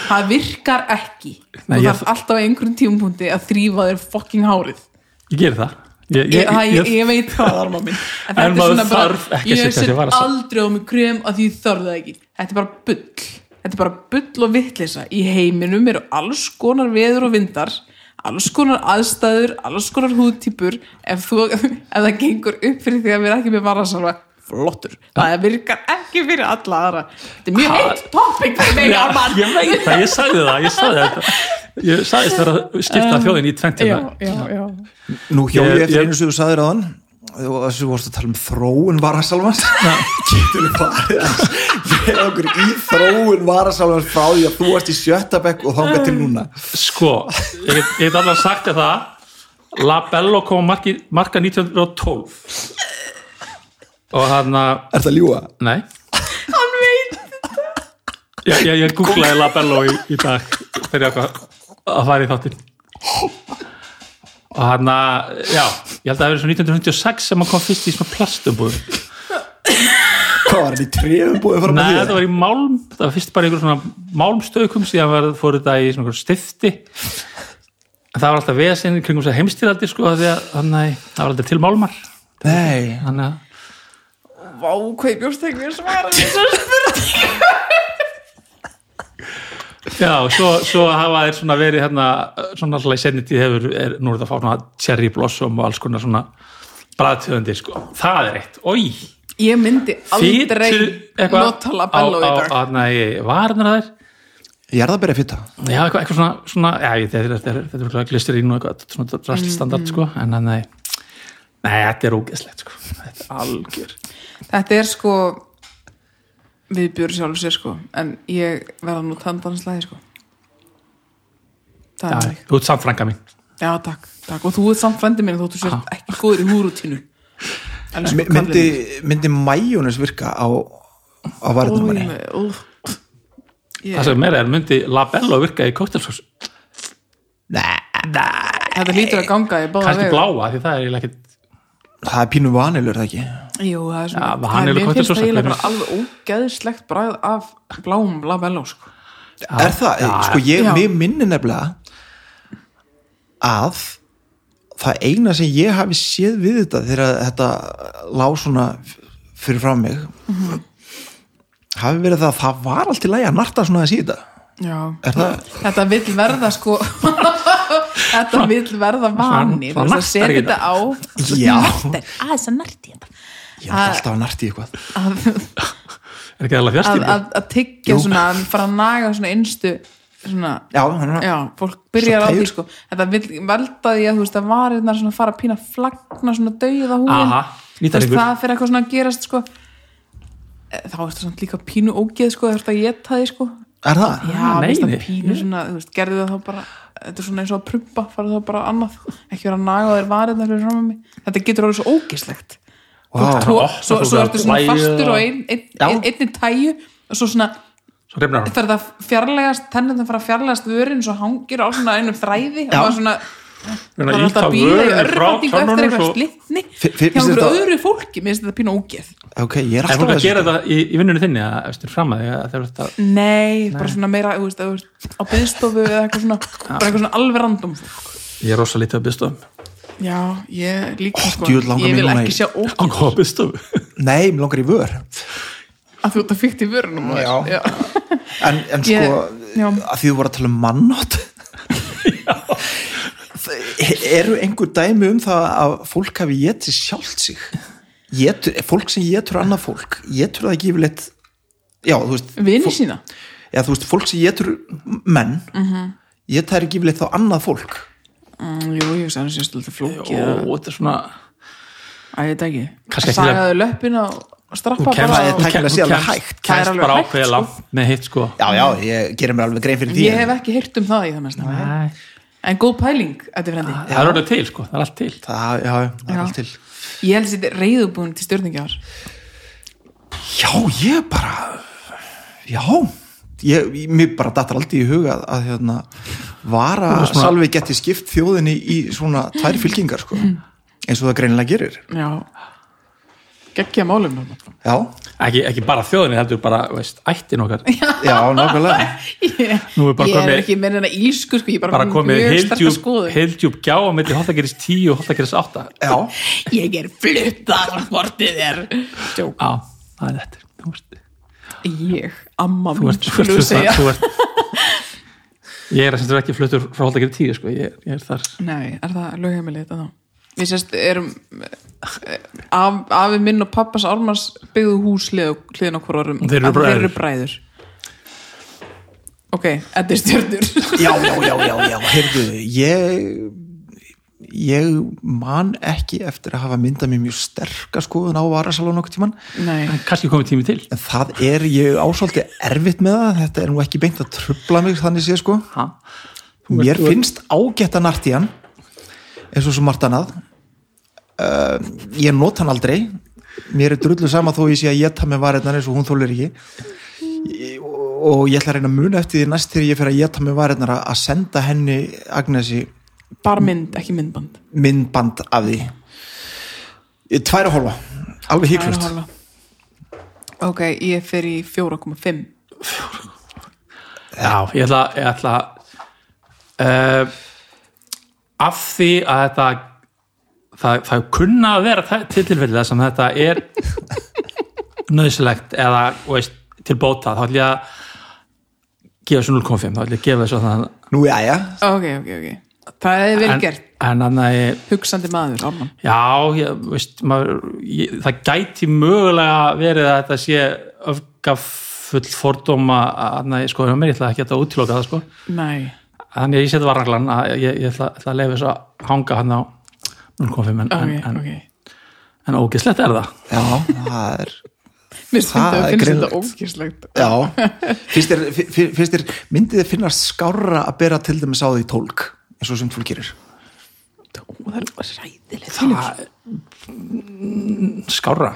[SPEAKER 2] það virkar ekki
[SPEAKER 3] Nei,
[SPEAKER 2] þú
[SPEAKER 3] ég-
[SPEAKER 2] þarf alltaf á einhverjum tímapunkti að þrýfa þér fucking hárið
[SPEAKER 3] Ég ger það. Ég,
[SPEAKER 2] ég, ég, ég, veit það Arma minn en, þetta er
[SPEAKER 3] maður
[SPEAKER 2] svona bara-
[SPEAKER 3] þarf ekki að
[SPEAKER 2] ég
[SPEAKER 3] setja
[SPEAKER 2] set
[SPEAKER 3] sér varasal.
[SPEAKER 2] aldrei á mig krem að því ég þarf það ekki þetta er bara bull þetta er bara bull og vittlisa í heiminum eru alls konar veður og vindar alls konar aðstæður, alls konar húðtýpur ef, þú, ef það gengur upp fyrir því að við erum ekki með varasalva flottur, það virkar ekki fyrir alla aðra þetta er mjög
[SPEAKER 3] Ha-
[SPEAKER 2] heitt popping fyrir mig
[SPEAKER 3] Já,
[SPEAKER 2] Arman
[SPEAKER 3] ég veit það, ég sagði það, ég sagði þetta. Ég sagðist vera að skipta þjóðin í tvent
[SPEAKER 2] Um, já,
[SPEAKER 3] hérna.
[SPEAKER 2] já, já
[SPEAKER 1] nú hjóði
[SPEAKER 3] Ég-
[SPEAKER 1] ég eftir
[SPEAKER 3] ég-
[SPEAKER 1] einu sem þú sagðir á þann og þessu vorst að tala um þróun varasalvans getur við farið að vera okkur í þróun varasalvans frá því að þú varst í sjötta bekk og þangað til núna
[SPEAKER 3] Sko, ég get, ég get allar sagt þér það Labello kom á marki, marka 1912 og hann að
[SPEAKER 1] er það ljúa?
[SPEAKER 3] Nei,
[SPEAKER 2] hann veit
[SPEAKER 3] ég, ég, ég googlaði Labello í, í dag þegar ég ákvað að fara í þáttinn og hann að já, ég held að það verið svo 1956 sem hann kom fyrst í svona plastumbúðum
[SPEAKER 1] hvað var hann í trefum búið fram
[SPEAKER 3] Nei,
[SPEAKER 1] að
[SPEAKER 3] þetta
[SPEAKER 1] því?
[SPEAKER 3] var í málm, það var fyrst bara í einhver svona málmstökum síðan var, fór þetta í svona einhver stifti en það var alltaf vesinn kringum þess að heimstýraldi sko af því að þannig, það var alltaf til málmar
[SPEAKER 1] nei,
[SPEAKER 3] þannig að
[SPEAKER 2] Vá, hvað ég bjóst ekki við svara þessu
[SPEAKER 3] Já, svo, svo hafa þeir svona verið hérna, svona alltaf í senni tíð hefur, er, nú er þetta að fá svona cherry blossom og alls konar svona bræðtöðandi, sko. Það er eitt. Ói,
[SPEAKER 2] Ég myndi aldrei nota labello í dag
[SPEAKER 3] Á, á, nei, varnar þær.
[SPEAKER 1] ég er það að byrja að fýta
[SPEAKER 3] Já, eitthvað, eitthvað svona, svona, já, ég veit, þetta er- þetta er þetta er örugglega glisterín og eitthvað, svona
[SPEAKER 2] Mhm.
[SPEAKER 3] draststandard, sko, en að nei, nei, þetta er ógeðslegt, sko. Þetta er algjör.
[SPEAKER 2] Þetta er sko við björum sjálf sér sko en ég verða nú tandanslæði sko Það
[SPEAKER 3] Já,
[SPEAKER 2] er þannig.
[SPEAKER 3] þú ert samfranga mín.
[SPEAKER 2] Já, takk, takk og þú ert samt frændi minn þóttu sér ekki góður í húrutinu
[SPEAKER 3] sko,
[SPEAKER 2] Elsku
[SPEAKER 1] My- myndi, myndi mæjónus virka á, á varðnum manni
[SPEAKER 2] kallinn minn. Ó, ég- ó.
[SPEAKER 3] Það sem meira er, myndi labello virka í kóttelsós,
[SPEAKER 2] Þetta hlýtur að ganga í báða
[SPEAKER 3] kannski bláa, því það er eiginlega ekkit
[SPEAKER 1] það er pínu vanilur það ekki
[SPEAKER 2] Jú, það er svona
[SPEAKER 3] Já, vanillu
[SPEAKER 2] Mér finnst
[SPEAKER 3] kóktelsósa,
[SPEAKER 2] það eiginlega
[SPEAKER 3] hver
[SPEAKER 2] bara alveg ógeðslegt bræð af bláum labello sko
[SPEAKER 1] er það,
[SPEAKER 3] Já,
[SPEAKER 1] sko ég,
[SPEAKER 2] Já.
[SPEAKER 1] mig minni nefnilega að það eina sem ég hafi séð við þetta þegar þetta lá svona fyrir fram mig hafi verið það að það var allt í lagi að narta svona að síða
[SPEAKER 2] Já
[SPEAKER 1] er það,
[SPEAKER 2] Þetta vill verða sko Þetta vill verða vani Þú
[SPEAKER 3] Svona-
[SPEAKER 2] veist að
[SPEAKER 3] svona
[SPEAKER 2] setja
[SPEAKER 3] nartar í
[SPEAKER 2] þetta á
[SPEAKER 1] já
[SPEAKER 2] Aðeins að narti þetta
[SPEAKER 1] ég var alltaf að narta í eitthvað
[SPEAKER 2] Að,
[SPEAKER 3] er ekki alveg
[SPEAKER 2] að,
[SPEAKER 3] fjárstýrið.
[SPEAKER 2] að, að tyggja
[SPEAKER 1] Jú.
[SPEAKER 2] svona Að fara að naga svona innstu Svona
[SPEAKER 1] já, hann var
[SPEAKER 2] Já, fólk byrjar á
[SPEAKER 1] Svo
[SPEAKER 2] því
[SPEAKER 1] teygjur.
[SPEAKER 2] sko Þetta vill valda því að þú veist að varirnar svona fara að pína flagna svona dauða húin
[SPEAKER 3] Aha,
[SPEAKER 2] Þú veist,
[SPEAKER 3] nýtaringur.
[SPEAKER 2] það fyrir eitthvað svona að gerast sko Eh, Þá er þetta svona líka pínu ógeð sko Það er þetta að geta því sko
[SPEAKER 1] er það,
[SPEAKER 2] Já,
[SPEAKER 3] nei,
[SPEAKER 2] veist
[SPEAKER 3] nei.
[SPEAKER 2] það pínu svona, þú veist, gerðu það þá bara þetta er svona eins og að prumpa fara það bara annað, ekki vera að naga þeir varið fyrir fram mig, þetta getur orðið svo ógislegt
[SPEAKER 1] Vá.
[SPEAKER 2] tó,
[SPEAKER 3] Opnar
[SPEAKER 2] svo,
[SPEAKER 3] þú
[SPEAKER 2] svo
[SPEAKER 3] bara
[SPEAKER 2] ertu svona
[SPEAKER 3] blæju
[SPEAKER 2] fastur
[SPEAKER 3] og-
[SPEAKER 2] og ein, ein,
[SPEAKER 3] Já.
[SPEAKER 2] ein, einni tæju og svo svona
[SPEAKER 3] svo reyfnar hann
[SPEAKER 2] fer það fjarlægast, tennirna fara að fjarlægast vörin svo hangir á svona einum þræði og
[SPEAKER 3] Já.
[SPEAKER 2] maður svona
[SPEAKER 3] Reyna að
[SPEAKER 2] maður er alltaf
[SPEAKER 3] ýta
[SPEAKER 2] að býða í
[SPEAKER 3] vörunni frá
[SPEAKER 2] örfætingu eftir
[SPEAKER 3] tönnunum
[SPEAKER 2] eitthvað
[SPEAKER 3] svo-
[SPEAKER 2] slitni
[SPEAKER 1] Fi-
[SPEAKER 2] hjá
[SPEAKER 1] fi- finnst
[SPEAKER 2] einhverju
[SPEAKER 1] þetta-
[SPEAKER 2] öðru fólki, mér finnst þetta pínu ógeð
[SPEAKER 1] ok, ég er
[SPEAKER 3] Er
[SPEAKER 1] alltaf að
[SPEAKER 3] fólk að
[SPEAKER 1] þessu.
[SPEAKER 3] gera þetta í, í vinnunni þinni að eftir fram að því að þeir eru þetta
[SPEAKER 2] Nei, bara svona meira, þú veist, að þú ert á byðstofu eða eitthvað svona, bara eitthvað svona alveg random
[SPEAKER 3] Ég er rosa lítið að byðstofum
[SPEAKER 2] Já, ég líka
[SPEAKER 1] Ó,
[SPEAKER 2] sko,
[SPEAKER 1] djöfull langar
[SPEAKER 2] ég
[SPEAKER 1] mig
[SPEAKER 2] vil
[SPEAKER 1] núna
[SPEAKER 2] ekki
[SPEAKER 1] í-
[SPEAKER 2] sjá ógeð
[SPEAKER 3] Hvað að byðstofu?
[SPEAKER 1] nei, mér langar í vör
[SPEAKER 2] að þú ert að fyrta í vörunum maður.
[SPEAKER 1] Já.
[SPEAKER 2] Já.
[SPEAKER 1] en, en sko,
[SPEAKER 2] Ég- já.
[SPEAKER 1] að því þú voru að tala um mannátt Það- eru einhver dæmi um það að fólk hafi getið sjálft sig getur, fólk sem getur annað fólk getur það ekki yfirleitt já, þú veist,
[SPEAKER 2] Vini
[SPEAKER 1] fólk-
[SPEAKER 2] sína
[SPEAKER 1] já, þú veist fólk sem getur menn mm
[SPEAKER 2] Mhm.
[SPEAKER 1] -hmm. geta það ekki yfirleitt þá annað fólk
[SPEAKER 2] mm, Jú, ég veist, annars ég stöldi flóki
[SPEAKER 3] Jó,
[SPEAKER 2] Æ,
[SPEAKER 3] þetta er svona
[SPEAKER 2] þetta ekki
[SPEAKER 3] Kannski ekki
[SPEAKER 2] Sagaðu löppin og strappa
[SPEAKER 1] það er
[SPEAKER 2] bara og...
[SPEAKER 1] tæknilega
[SPEAKER 3] þú
[SPEAKER 1] séð alveg
[SPEAKER 3] kemst-
[SPEAKER 1] hægt.
[SPEAKER 2] Það er
[SPEAKER 3] kemst
[SPEAKER 2] alveg
[SPEAKER 3] bara
[SPEAKER 2] hægt,
[SPEAKER 3] ákveðið
[SPEAKER 2] sko.
[SPEAKER 3] langt með hitt sko
[SPEAKER 1] já, já, ég gerir mér alveg grein fyrir því
[SPEAKER 2] Ég
[SPEAKER 1] en
[SPEAKER 2] hef ekki heyrt um það í það mesta
[SPEAKER 3] Nei.
[SPEAKER 2] En góð pæling, þetta er frendi
[SPEAKER 3] Það er orðið til sko, það er allt til
[SPEAKER 1] það, já, já, það
[SPEAKER 2] Já.
[SPEAKER 1] er allt til
[SPEAKER 2] Ég held sér reyðubúin til stjórningar
[SPEAKER 1] Já, ég bara Já ég, ég- Mér bara dattar aldrei í huga að, að hérna, vara
[SPEAKER 3] Þú veist svona-
[SPEAKER 1] salvi geti skipt þjóðinni í svona tvær fylkingar sko. eins og það greinilega gerir
[SPEAKER 2] Já Gekkja málum
[SPEAKER 1] Já,
[SPEAKER 3] ekki, ekki bara þjóðinni heldur bara, veist, ættin okkar
[SPEAKER 1] já, nákvæmlega
[SPEAKER 2] Ég,
[SPEAKER 3] Nú er bara
[SPEAKER 2] ég er
[SPEAKER 3] komið-
[SPEAKER 2] ekki með hennar ílsku sko, Ég er bara,
[SPEAKER 3] bara
[SPEAKER 2] með
[SPEAKER 3] komið
[SPEAKER 2] mjög sterka
[SPEAKER 3] heildjúb,
[SPEAKER 2] skoðun.
[SPEAKER 3] heildjúb gjá á milli hottagerist 10 og hottagerist 8
[SPEAKER 1] Já,
[SPEAKER 2] Ég er fluttað og sportið er Sjók.
[SPEAKER 3] Já, það er þetta Þú ert,
[SPEAKER 2] Ég, amma
[SPEAKER 3] þú
[SPEAKER 2] mín
[SPEAKER 3] ert, þú ert,
[SPEAKER 2] skulum
[SPEAKER 3] þú
[SPEAKER 2] segja.
[SPEAKER 3] ert, þú ert Ég er sem þú ekki fluttur frá hottagerist 10 sko, ég, ég er þar
[SPEAKER 2] Nei, er það lögheimilið þetta þá? Við sérst erum eh, af, afi minn og pappas Ármars byggðu hús hlið- hliðin á hvort orðum
[SPEAKER 3] Og þeir eru
[SPEAKER 2] Að
[SPEAKER 3] bræður.
[SPEAKER 2] bræður Ok, þetta er stjörnur
[SPEAKER 1] já, já, já, já, já Heyrðu, ég ég man ekki eftir að hafa myndað mér mjög sterka skoðun á varasalón okkur tíman
[SPEAKER 2] Nei,
[SPEAKER 3] En Kannski komið tími til
[SPEAKER 1] en það er, ég ásóldi erfitt með það þetta er nú ekki beint að trubla mig þannig sé sko
[SPEAKER 3] ha?
[SPEAKER 1] Mér finnst ágættan artíjan eins og svo margt annað uh, ég nota hann aldrei mér er drullu sama þó ég sé að ég ta með varirnar eins og hún þólir ekki Ég- og ég ætla að reyna að muna eftir því næst þegar ég fer að ég ta með varirnar að- að senda henni Agnesi
[SPEAKER 2] bara mynd, ekki myndband
[SPEAKER 1] myndband af því Ég- tvær og hálfa alveg
[SPEAKER 2] Tvær og
[SPEAKER 1] híklust
[SPEAKER 2] hálfa. Ok, ég fer í 4,5
[SPEAKER 3] Já, ég ætla, ég ætla uh, af því að þetta það, það kunna að vera það- til tilfelli þar sem þetta er nöðsilegt eða þú veist, til bóta, þá ætla ég að gefa svo 0,5, þá ætla ég að gefa þessu þannig
[SPEAKER 1] nú já já,
[SPEAKER 2] Ok, ok, ok Það er vel
[SPEAKER 3] en,
[SPEAKER 2] gert,
[SPEAKER 3] en annað ég,
[SPEAKER 2] hugsandi maður Ármann
[SPEAKER 3] já, ég, veist maður, ég, það gæti mögulega verið að þetta sé öfgafull fordóma annað, ég, sko, hjá mér, ég ætla ekki að þetta útiloka það sko.
[SPEAKER 2] Nei,
[SPEAKER 3] þannig að ég seti varnaglan að ég, ég ætla, ætla að leifa þess að hanga hann á 0,5 en,
[SPEAKER 2] ok,
[SPEAKER 3] en, en,
[SPEAKER 2] ok
[SPEAKER 3] en ógislegt er það
[SPEAKER 1] já það er
[SPEAKER 2] Mér finnst
[SPEAKER 1] Það
[SPEAKER 2] þetta
[SPEAKER 1] er
[SPEAKER 2] finnst þetta
[SPEAKER 1] greinlegt.
[SPEAKER 2] ógislegt
[SPEAKER 1] Já, finnst þér, fi- fi- finnst þér myndið þér finnast skárra að bera til dæmis á því tólk eins og sem fólk gerir
[SPEAKER 2] Ó, Það er ræðilegt
[SPEAKER 3] það skára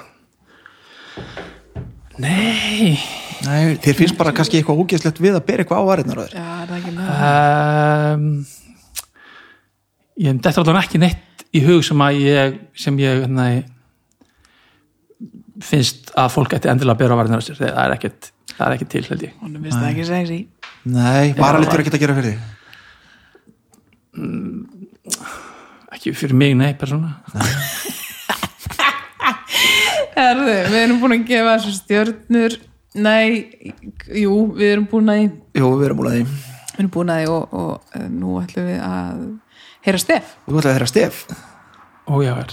[SPEAKER 3] nei
[SPEAKER 1] Nei, þér finnst bara kannski eitthvað ógeðslegt við að bera eitthvað á varinnar á þér
[SPEAKER 2] Já, er það ekki með
[SPEAKER 3] um, ég hef þetta allan ekki neitt í hug sem að ég sem ég hérna, finnst að fólk ætti endilega að bera varnar á sér, það er ekkert það er ekki til, held ég
[SPEAKER 2] Hún finnst það ekki sexy
[SPEAKER 1] Nei, varalitur er ekkert að gera fyrir því
[SPEAKER 3] ekki fyrir mig, nei, persóna
[SPEAKER 2] Herðu, við erum búin að gefa þessu stjörnur Nei, jú, við erum búin að því
[SPEAKER 1] Jó, við erum múlað því
[SPEAKER 2] Við erum búin að því og, og eh, nú ætlum við að heyra stef
[SPEAKER 1] Þú ætlaði að þeirra stef
[SPEAKER 3] og ég er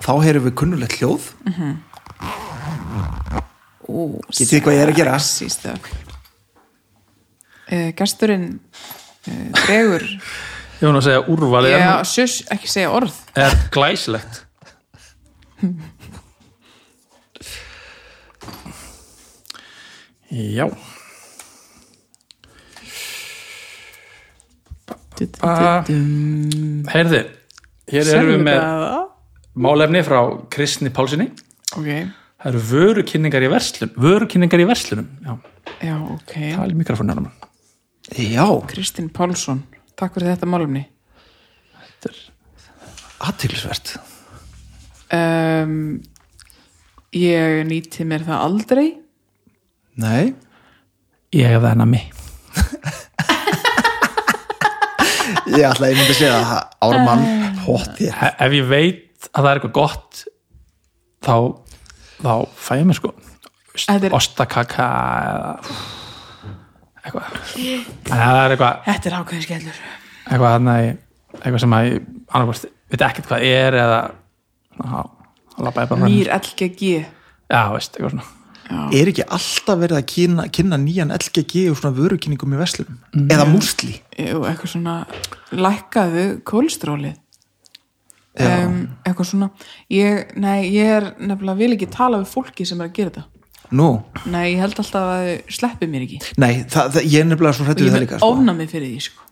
[SPEAKER 1] Þá heyrum við kunnulegt hljóð
[SPEAKER 2] Ú,
[SPEAKER 1] Getið þið hvað ég er að gera?
[SPEAKER 2] sexy stuff. Eh, Gesturinn eh, dregur
[SPEAKER 3] Ég var nú að segja að úrvalið er,
[SPEAKER 2] Já, sjöss, ekki segja orð
[SPEAKER 3] nú- er glæslegt Já Ah. Heyrði, hér erum við með málefni frá Kristni Pálsini
[SPEAKER 2] Ok,
[SPEAKER 3] Það eru vörukynningar í verslun Vörukynningar í verslunum Já,
[SPEAKER 2] já, ok
[SPEAKER 3] tali mikrofónunum
[SPEAKER 1] Já,
[SPEAKER 2] Kristinn Pálsson, takk fyrir þetta málumni
[SPEAKER 3] Þetta er
[SPEAKER 1] aðtilsvert
[SPEAKER 2] um, Ég nýti mér það aldrei
[SPEAKER 1] Nei,
[SPEAKER 3] Ég hef það hennar mig
[SPEAKER 1] ég ætla að ég myndi að segja það Ármann, hótti
[SPEAKER 3] E- Ef ég veit að það er eitthvað gott þá, þá fæ ég mér sko
[SPEAKER 2] Þetta er-
[SPEAKER 3] ostakaka eða eitthvað Þannig að það er eitthvað
[SPEAKER 2] Þetta er ákveðin skellur
[SPEAKER 3] eitthvað, þarna í- eitthvað sem að ég annarkvist veit ekkert hvað er eða þá þá labba ég bara fram.
[SPEAKER 2] Nýr LGG
[SPEAKER 3] Já, veist, eitthvað svona
[SPEAKER 1] Er ekki alltaf verið að kynna, kynna nýjan LGG og svona vörukynningum í verslunum? Eða músli?
[SPEAKER 2] Jú, eitthvað svona lækkaðu kólstrólið um, eitthvað svona ég, nei, ég er nefnilega vil ekki tala við fólki sem er að gera þetta
[SPEAKER 1] Nú,
[SPEAKER 2] nei, ég held alltaf að þau sleppi mér ekki
[SPEAKER 1] nei, það, það, ég er nefnilega svo hrættu við
[SPEAKER 2] og ég
[SPEAKER 1] það
[SPEAKER 2] mun
[SPEAKER 1] líka sko.
[SPEAKER 2] ofnami fyrir því sko.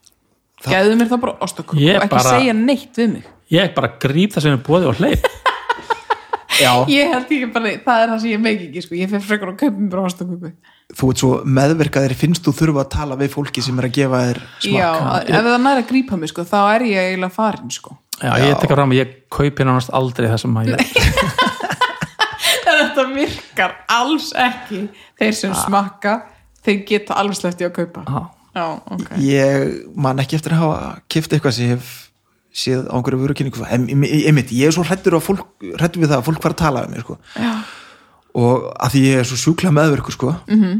[SPEAKER 2] gæðu mér það bara ostaköku
[SPEAKER 3] Ég
[SPEAKER 2] og ekki
[SPEAKER 3] bara-
[SPEAKER 2] segja neitt við mig
[SPEAKER 3] Ég bara gríp það sem er búið og hleyp
[SPEAKER 1] Já,
[SPEAKER 2] ég held ekki bara, það er það sem ég meik ekki sko. ég fer frekar að kaupa mér bara ostaköku
[SPEAKER 1] þú ert svo meðverkaðir finnst þú þurfa að tala við fólki sem er að gefa þér
[SPEAKER 2] já,
[SPEAKER 1] smakka
[SPEAKER 2] að- ef það næri að grípa mig sko, þá er ég eiginlega farin sko.
[SPEAKER 3] Já, ég tek að fram að ég kaupi nánast aldrei það sem að ég
[SPEAKER 2] þetta virkar alls ekki þeir sem smakka þeir geta alveg sleppt í að kaupa
[SPEAKER 3] Já.
[SPEAKER 2] já, ok
[SPEAKER 1] Ég man ekki eftir að hafa kift eitthvað sem ég hef séð á einhverju vörukynningu Em- em- einmitt, ég er svo hrættur hrættur við það að fólk var að tala um mér sko. og að því ég er svo sjúkla meðverku sko,
[SPEAKER 3] Mhm.
[SPEAKER 1] -hmm.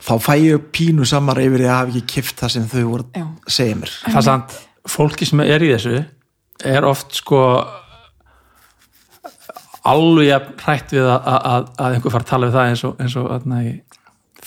[SPEAKER 1] þá fæ ég pínu samar yfir því að hafa ekki kift það sem þau voru
[SPEAKER 2] Já.
[SPEAKER 1] að segja mér
[SPEAKER 3] það er sant, fólki sem er í þessu er oft sko alveg jafn hrætt við að, að, að einhver fara að tala við það eins og, eins og þarna í-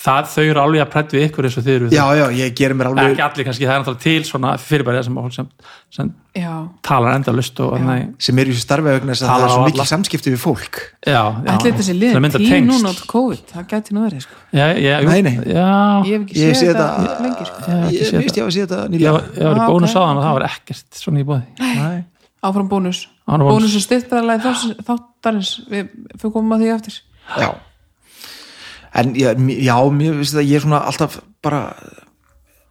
[SPEAKER 3] það, þau eru alveg jafn hrætt við ykkur eins og þið eru við
[SPEAKER 1] Já, já, ég gerir mér
[SPEAKER 3] það
[SPEAKER 1] alveg
[SPEAKER 3] ekki allir kannski, það er náttúrulega til svona fyrirbærið sem, fólk sem, sem
[SPEAKER 2] já,
[SPEAKER 3] talar endalust og þarna í-
[SPEAKER 1] sem er í þessu starfi vegna þess að
[SPEAKER 3] Talar
[SPEAKER 1] það er svo
[SPEAKER 3] á
[SPEAKER 1] mikil
[SPEAKER 3] alla.
[SPEAKER 1] samskipti við fólk
[SPEAKER 3] já, já,
[SPEAKER 2] ætli þetta sé
[SPEAKER 3] til að
[SPEAKER 2] liðin
[SPEAKER 3] mynda
[SPEAKER 2] tíð
[SPEAKER 3] tengsl.
[SPEAKER 2] núna át COVID, það gæti nú verið sko.
[SPEAKER 3] já, já, jú,
[SPEAKER 1] Nei, nei.
[SPEAKER 3] já,
[SPEAKER 2] ég hef ekki
[SPEAKER 1] Ég
[SPEAKER 2] séð
[SPEAKER 1] sé
[SPEAKER 2] þetta
[SPEAKER 1] þetta-
[SPEAKER 2] lengi sko.
[SPEAKER 3] hef ekki
[SPEAKER 1] Ég
[SPEAKER 3] séð
[SPEAKER 1] veist ég
[SPEAKER 3] það.
[SPEAKER 1] að sé þetta
[SPEAKER 3] ég
[SPEAKER 1] nýlega
[SPEAKER 3] var ég var í
[SPEAKER 2] Ah,
[SPEAKER 3] bónus
[SPEAKER 2] ok,
[SPEAKER 3] okay, áðan og það var ekkert svona í bóði
[SPEAKER 1] Nei.
[SPEAKER 2] áfram bónus,
[SPEAKER 3] Áfram
[SPEAKER 2] bónus
[SPEAKER 3] bónus.
[SPEAKER 2] er styrtaðarlega þáttarins, við fyrir komum að því aftur
[SPEAKER 1] Já En já, m- já mér finnst það ég er svona alltaf bara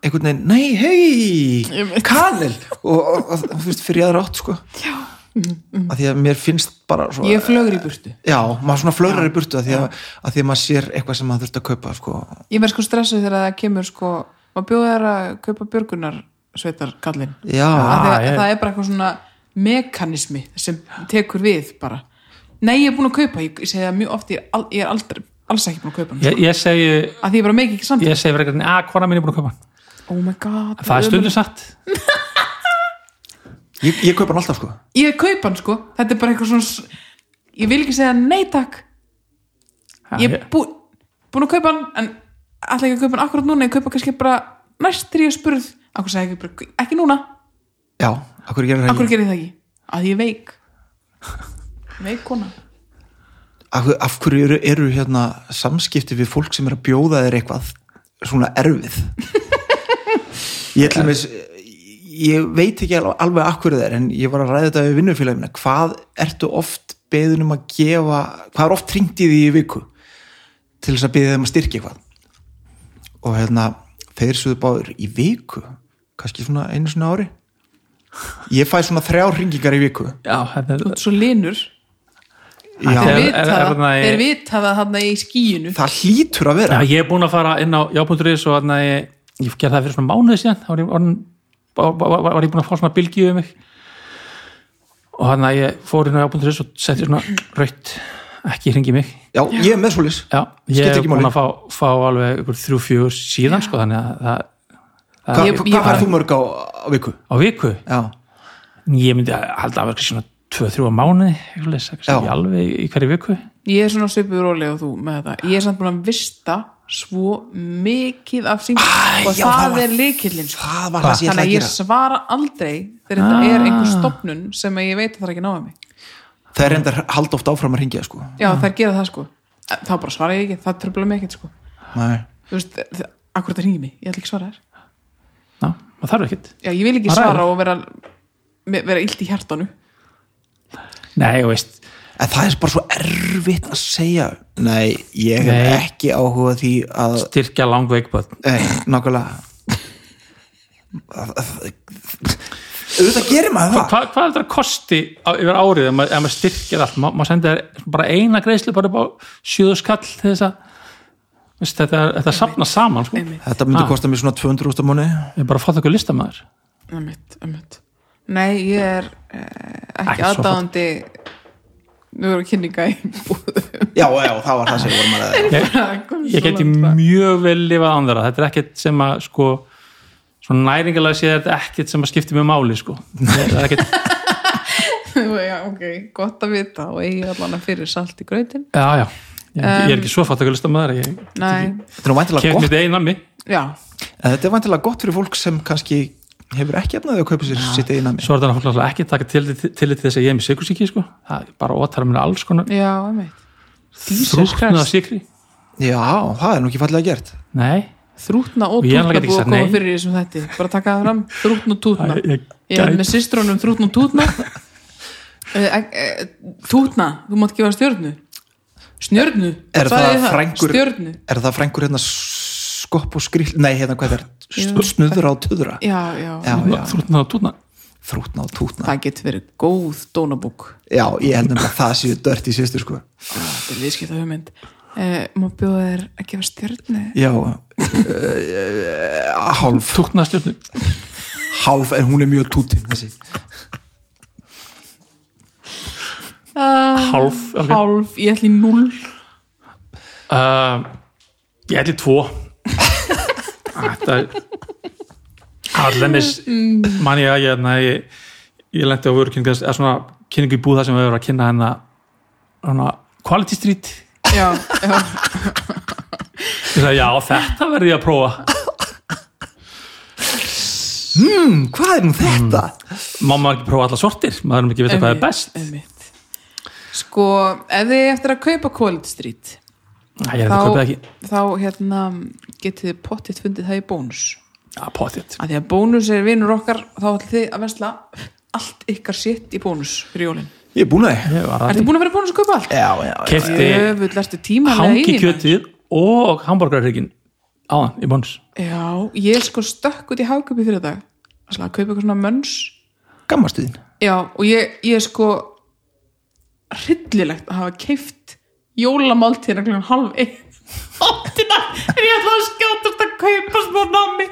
[SPEAKER 1] einhvern veginn, nei,
[SPEAKER 2] Ég
[SPEAKER 1] hei
[SPEAKER 2] veit.
[SPEAKER 1] Kanil og, og, og þú veist, fyrir aðra átt sko Já að Því að mér finnst bara svo,
[SPEAKER 2] ég flögur í burtu,
[SPEAKER 1] Já, maður svona flörar í burtu að því að, að því að maður sér eitthvað sem maður þurft að kaupa sko.
[SPEAKER 2] ég verð sko stressuð þegar það kemur sko, maður bjóða þær að kaupa björgunar sveitar kallinn
[SPEAKER 1] Já,
[SPEAKER 2] ah,
[SPEAKER 3] Ah, ég-
[SPEAKER 2] það er bara eitthvað svona mekanismi sem tekur við bara, nei ég er búin að kaupa ég segi það mjög oft, ég er, al, ég er aldrei, alls ekki búin að kaupa hann,
[SPEAKER 3] ég, ég segi
[SPEAKER 2] að því ég bara meik ekki samt
[SPEAKER 3] ég segi verið eitthvað, að hvona mín er búin að koma
[SPEAKER 2] oh my god,
[SPEAKER 3] það er stundum satt
[SPEAKER 1] ég, ég kaupa hann alltaf sko
[SPEAKER 2] ég kaupa hann sko, þetta er bara eitthvað svona s- ég vil ekki segja nei takk
[SPEAKER 3] Já,
[SPEAKER 2] ég er bú, búin að kaupa hann en ætla ekki að kaupa hann akkurat núna ég kaupa kannski bara næst þegar ég er spurð akkur segi ekki, bara, ekki núna,
[SPEAKER 1] Já, akkur gerir það
[SPEAKER 2] akkur
[SPEAKER 1] ekki
[SPEAKER 2] gerir það ekki að ég er veik veik kona
[SPEAKER 1] af, af hverju eru, eru hérna samskipti við fólk sem er að bjóða þér eitthvað svona erfið ég ætlum veist ég veit ekki alveg alveg af hverju það er en ég var að ræða þetta við vinnufélagina hvað ertu oft beðin um að gefa hvað er oft hringt í því í viku til þess að beðið þeim að styrkja eitthvað og hérna þeir suðu báður í viku kannski svona einu svona ári ég fæ svona þrjá hringingar í viku
[SPEAKER 3] já, þetta er
[SPEAKER 2] svo linur,
[SPEAKER 1] Já,
[SPEAKER 2] þeir
[SPEAKER 3] er-
[SPEAKER 2] vita
[SPEAKER 3] er- er
[SPEAKER 2] það
[SPEAKER 3] þarna í-
[SPEAKER 2] þeir vita það hann í skíinu
[SPEAKER 1] það hlýtur að vera
[SPEAKER 3] Já, ég er búin að fara inn á já.is og þannig að ég, ég gerði það fyrir svona mánuði síðan þá var ég, orðin, var, var, var ég búin að fá svona bylgju um mig og þannig að ég fór inn á já.is og setti svona raut ekki hringi mig
[SPEAKER 1] Já, ég er með svolis
[SPEAKER 3] já, ég
[SPEAKER 1] Skiptir
[SPEAKER 3] er
[SPEAKER 1] ekki
[SPEAKER 3] búin
[SPEAKER 1] máli.
[SPEAKER 3] að fá, fá alveg ykkur þrjú fjögur síðan sko, þannig að það,
[SPEAKER 1] Hvað
[SPEAKER 2] Ég-
[SPEAKER 1] hva,
[SPEAKER 2] ég
[SPEAKER 1] hva
[SPEAKER 2] bara-
[SPEAKER 1] færð þú mörg á, á viku?
[SPEAKER 3] á viku
[SPEAKER 1] Já,
[SPEAKER 3] ég myndi að halda að vera svona 2-3 mánuði eitthvað, leys,
[SPEAKER 1] Já.
[SPEAKER 3] ekki alveg í hverju viku
[SPEAKER 2] Ég er svona svipur róleg og þú með þetta. Ég er samt búin að vista svo mikið af sín
[SPEAKER 1] Æ,
[SPEAKER 2] og
[SPEAKER 1] já,
[SPEAKER 2] það,
[SPEAKER 1] það var-
[SPEAKER 2] er likillinn. sko.
[SPEAKER 1] það var það sem ég ætlaði að
[SPEAKER 2] Þannig að
[SPEAKER 1] gera.
[SPEAKER 2] ég
[SPEAKER 1] Ah.
[SPEAKER 2] svara aldrei þegar þetta er einhver stopnun sem að ég veit að það er ekki náðið mig.
[SPEAKER 1] það er enda halda oft áfram að ringja sko.
[SPEAKER 2] Já, það gera það sko. Þá bara svara ég ekki, það tröfla mig ekkert sko.
[SPEAKER 1] Nei.
[SPEAKER 2] Þú veist, það- akkur þetta hringi mig, ég ætla ekki að svara þér.
[SPEAKER 3] Ná, það þarf ekkert
[SPEAKER 2] Já, ég vil ekki
[SPEAKER 3] Það ræður.
[SPEAKER 2] svara og vera, me- vera illt í hjartanu.
[SPEAKER 3] Nei, og veist,
[SPEAKER 1] en það er bara svo erfitt að segja nei, ég hef
[SPEAKER 3] Nei.
[SPEAKER 1] ekki áhuga á því að
[SPEAKER 3] styrkja langveikböð
[SPEAKER 1] Nei, nákvæmlega auðvitað gerir maður það
[SPEAKER 3] Hvað hva er þetta kosti á, yfir árið ef maður, ef maður styrkir allt? Ma, maður sendir þér bara eina greiðslu bara upp á sjöðu skall til þess að veist, þetta, er- þetta sapna saman sko.
[SPEAKER 2] Einmitt,
[SPEAKER 1] þetta myndi
[SPEAKER 3] Ah.
[SPEAKER 1] kosta mér svona 200 úrst á mánu
[SPEAKER 3] Ég er bara að fá það okkur listamæður
[SPEAKER 2] einmitt, einmitt. Nei, ég er eh,
[SPEAKER 3] Ekki
[SPEAKER 2] ekki
[SPEAKER 3] svo fallegt.
[SPEAKER 2] aðdáðandi Nú erum kynninga í búðum
[SPEAKER 1] já, já, það var það sem við vorum að ræða
[SPEAKER 3] Ég, ég geti mjög vel lifað án þeirra þetta er ekkert sem að sko, svona næringalega séð er þetta ekkert sem að skipti mjög máli sko. það er ekkert,
[SPEAKER 2] Já, ok, gott að vita og eigi allan að fyrir salt í grautin
[SPEAKER 3] já, já Ég, ég er ekki svo fátt okkur listamæður ég
[SPEAKER 2] Nei,
[SPEAKER 1] þetta er nú væntanlega
[SPEAKER 3] kemur
[SPEAKER 1] gott
[SPEAKER 3] mitt einn nammi
[SPEAKER 2] já,
[SPEAKER 1] En Þetta er vantilega gott fyrir fólk sem kannski hefur ekki efnaði að kaupa sér sitt einn að mér.
[SPEAKER 3] svo er þetta náttúrulega ekki að taka til, til, til þess að ég er með sykursíki sko. það er bara ótara mér alls konar
[SPEAKER 2] já, einmitt Jesus
[SPEAKER 3] þrúknuða
[SPEAKER 2] Christ,
[SPEAKER 3] sykri
[SPEAKER 1] Já, það er nú ekki fallega gert.
[SPEAKER 3] Nei,
[SPEAKER 2] þrútna og
[SPEAKER 3] Og ég
[SPEAKER 2] tútna
[SPEAKER 3] ætla ekki
[SPEAKER 2] búið að
[SPEAKER 3] að segja
[SPEAKER 2] koma
[SPEAKER 3] nei.
[SPEAKER 2] fyrir í þessum þætti bara taka það fram, þrútna og tútna
[SPEAKER 3] Æ, ég
[SPEAKER 2] Ég er
[SPEAKER 3] gæti.
[SPEAKER 2] með systrónum þrútna og tútna Eh, eh, Tútna, þú mátt ekki vera stjörnu Snjörnu,
[SPEAKER 1] Er það
[SPEAKER 2] sagði ég
[SPEAKER 1] frængur-
[SPEAKER 2] Stjörnu
[SPEAKER 1] Er það frængur hérna skopp og skrill, nei hérna hvað er
[SPEAKER 2] Jú.
[SPEAKER 1] það, snuður á tuðra,
[SPEAKER 2] já, já,
[SPEAKER 1] Já.
[SPEAKER 3] þrútnaða tútna
[SPEAKER 1] þrútna og tútna.
[SPEAKER 2] það getur verið góð dónabúk
[SPEAKER 1] Já, ég held nefnilega að það séu dört í sýstur sko.
[SPEAKER 2] þetta er viðskipt af hugmynd uh, má bjóða þér að gefa stjörnu
[SPEAKER 1] Já, uh, hálf,
[SPEAKER 3] tútnaða stjórnu
[SPEAKER 1] hálf, en hún er mjög tútin þessi.
[SPEAKER 2] uh,
[SPEAKER 3] hálf, ok.
[SPEAKER 2] hálf, ég ætli 0
[SPEAKER 3] uh, ég ætli tvo Ah, þetta er allennis man ég að ég, na, ég ég lendi á vöru kynningu eða svona kynningu í búð það sem við erum að kynna hennar hana, quality street
[SPEAKER 2] já, já,
[SPEAKER 3] ég sagði já þetta verði ég að prófa
[SPEAKER 1] Mm, Hvað er nú þetta?
[SPEAKER 2] Mm.
[SPEAKER 3] má maður ekki prófa alla sortir maður erum ekki að vita hvað er best
[SPEAKER 2] einmitt. sko, ef þið eigið eftir að kaupa Quality Street
[SPEAKER 3] Æ, ég er þetta kaupið ekki
[SPEAKER 2] þá hérna getið þið pottitt fundið það í bónus
[SPEAKER 3] að potið
[SPEAKER 2] að því að bónus er vinur okkar þá ætli þið að vesla allt ykkar sitt í bónus fyrir jólin
[SPEAKER 1] Ég er búin að því.
[SPEAKER 3] ég var
[SPEAKER 2] Er
[SPEAKER 3] að
[SPEAKER 2] þið búin að vera bónus að kaupa allt?
[SPEAKER 1] Já, já, já.
[SPEAKER 3] kefti
[SPEAKER 2] Jöfull, ertu tímalega í því,
[SPEAKER 3] hangi
[SPEAKER 2] maður.
[SPEAKER 3] kjötið og hambúrgarhryggin áðan í bónus
[SPEAKER 2] Já, ég sko stökk út í hagköpi fyrir dag að kaupa eitthvað svona mönns
[SPEAKER 1] Gammastuðin.
[SPEAKER 2] Já, og ég, ég er sko hryllilegt að hafa keift jólamáltíðina hérna klukkan halv einn hóttina en ég ætla að skjótast að kaupa smá námi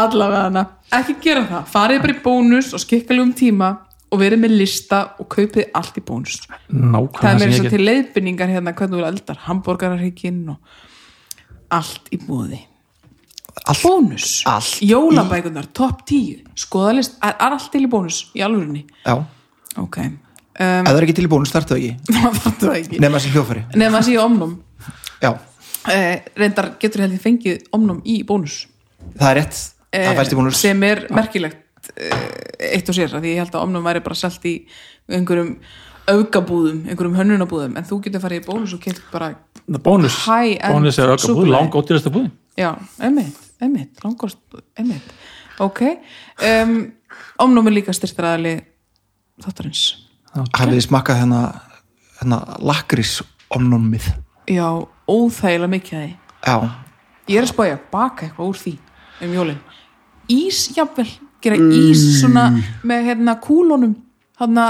[SPEAKER 2] allavega hana, ekki gera það farið bara í bónus og skikkalegum tíma og verið með lista og kaupið allt í bónus það
[SPEAKER 3] nákvæmlega
[SPEAKER 2] er
[SPEAKER 3] sem
[SPEAKER 2] meira
[SPEAKER 3] ég
[SPEAKER 2] svo
[SPEAKER 3] get
[SPEAKER 2] til leiðbynningar hérna hvernig þú er eldar, hambúrgararhyggjinn og allt í búði
[SPEAKER 1] Allt-
[SPEAKER 2] bónus,
[SPEAKER 1] allt í-
[SPEAKER 2] jólabækunar topp 10, skoðalist er, er allt til í bónus, í alvörinni
[SPEAKER 1] Já, ef
[SPEAKER 2] ok, um,
[SPEAKER 1] það er ekki til í bónu, startu ekki.
[SPEAKER 2] það fattu það ekki
[SPEAKER 1] Nefna sem hljófari.
[SPEAKER 2] nefn að sé omnum
[SPEAKER 1] Já,
[SPEAKER 2] uh, reyndar getur heldur fengið omnum í bónus
[SPEAKER 1] það er rétt.
[SPEAKER 2] Eh,
[SPEAKER 1] Það fæst í bónus.
[SPEAKER 2] sem er merkilegt uh, eitt og sér, af því ég held að omnum væri bara selt í einhverjum augabúðum, einhverjum hönnunabúðum en þú getur farið í bónus og keitt bara
[SPEAKER 3] bónus,
[SPEAKER 2] High-end
[SPEAKER 3] bónus er ökka búð
[SPEAKER 2] súkkulaði.
[SPEAKER 3] lang ódýrasta búðin
[SPEAKER 2] já, emmitt, emmitt, langkost emmitt, ok um, omnum er líka styrtaraðali þáttarins
[SPEAKER 1] hafið þið smakkað hérna, hérna lakrís omnómið
[SPEAKER 2] já, óþægilega mikið af því
[SPEAKER 1] já,
[SPEAKER 2] Ég er að spája að baka eitthvað úr því um jólin. Ís, jafnvel, gera ís svona með hérna kúlunum, hérna,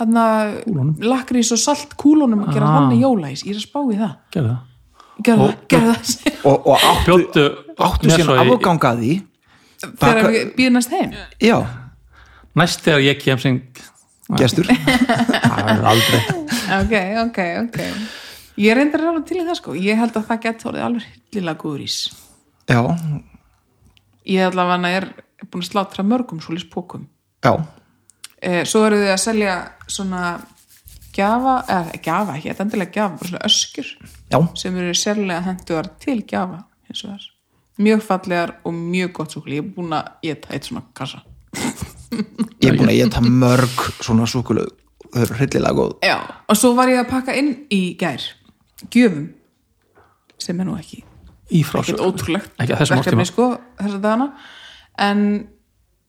[SPEAKER 2] hérna
[SPEAKER 3] Kúlunum?
[SPEAKER 2] lakrís og salt kúlunum og gera
[SPEAKER 3] Ah.
[SPEAKER 2] þannig jólaís. Ég er að spája það.
[SPEAKER 3] gerðu það
[SPEAKER 2] Gera
[SPEAKER 3] Og-
[SPEAKER 2] það, gera það.
[SPEAKER 1] og, og áttu,
[SPEAKER 3] bjóttu
[SPEAKER 1] áttu
[SPEAKER 3] mér
[SPEAKER 1] síðan
[SPEAKER 3] svo í-
[SPEAKER 1] afganga af því
[SPEAKER 2] Þegar
[SPEAKER 1] Baka-
[SPEAKER 2] við býðum næst heim.
[SPEAKER 1] já,
[SPEAKER 3] næst þegar ég kem sem
[SPEAKER 1] gestur
[SPEAKER 3] það verður aldrei
[SPEAKER 2] Ok, ok, ok. Ég reyndar að ráða til í það sko. Ég held að það gett orðið alveg hillilega góður ís.
[SPEAKER 1] já,
[SPEAKER 2] Ég held að hann er búin að slátra mörgum svolis pókum.
[SPEAKER 1] já,
[SPEAKER 2] Eh, svo eru þið að selja svona gjafa, eða gjafa ekki, þetta er endilega gjafa, bara svona öskjur
[SPEAKER 1] já,
[SPEAKER 2] sem eru sérlega henduar til gjafa hins vegar, mjög fallegar og mjög gott súkli, ég er búin að geta eitt svona kassa
[SPEAKER 1] ég er búin að geta mörg svona súkulög þau eru hryllilega góð
[SPEAKER 2] Já, og svo var ég að pakka inn í gær gjöfum sem er nú ekki,
[SPEAKER 3] í
[SPEAKER 2] ekkert
[SPEAKER 3] frásögn
[SPEAKER 2] ótrúlegt
[SPEAKER 3] Ekki á þessum
[SPEAKER 2] verkefni,
[SPEAKER 3] árstíma.
[SPEAKER 2] sko, þessa dagana en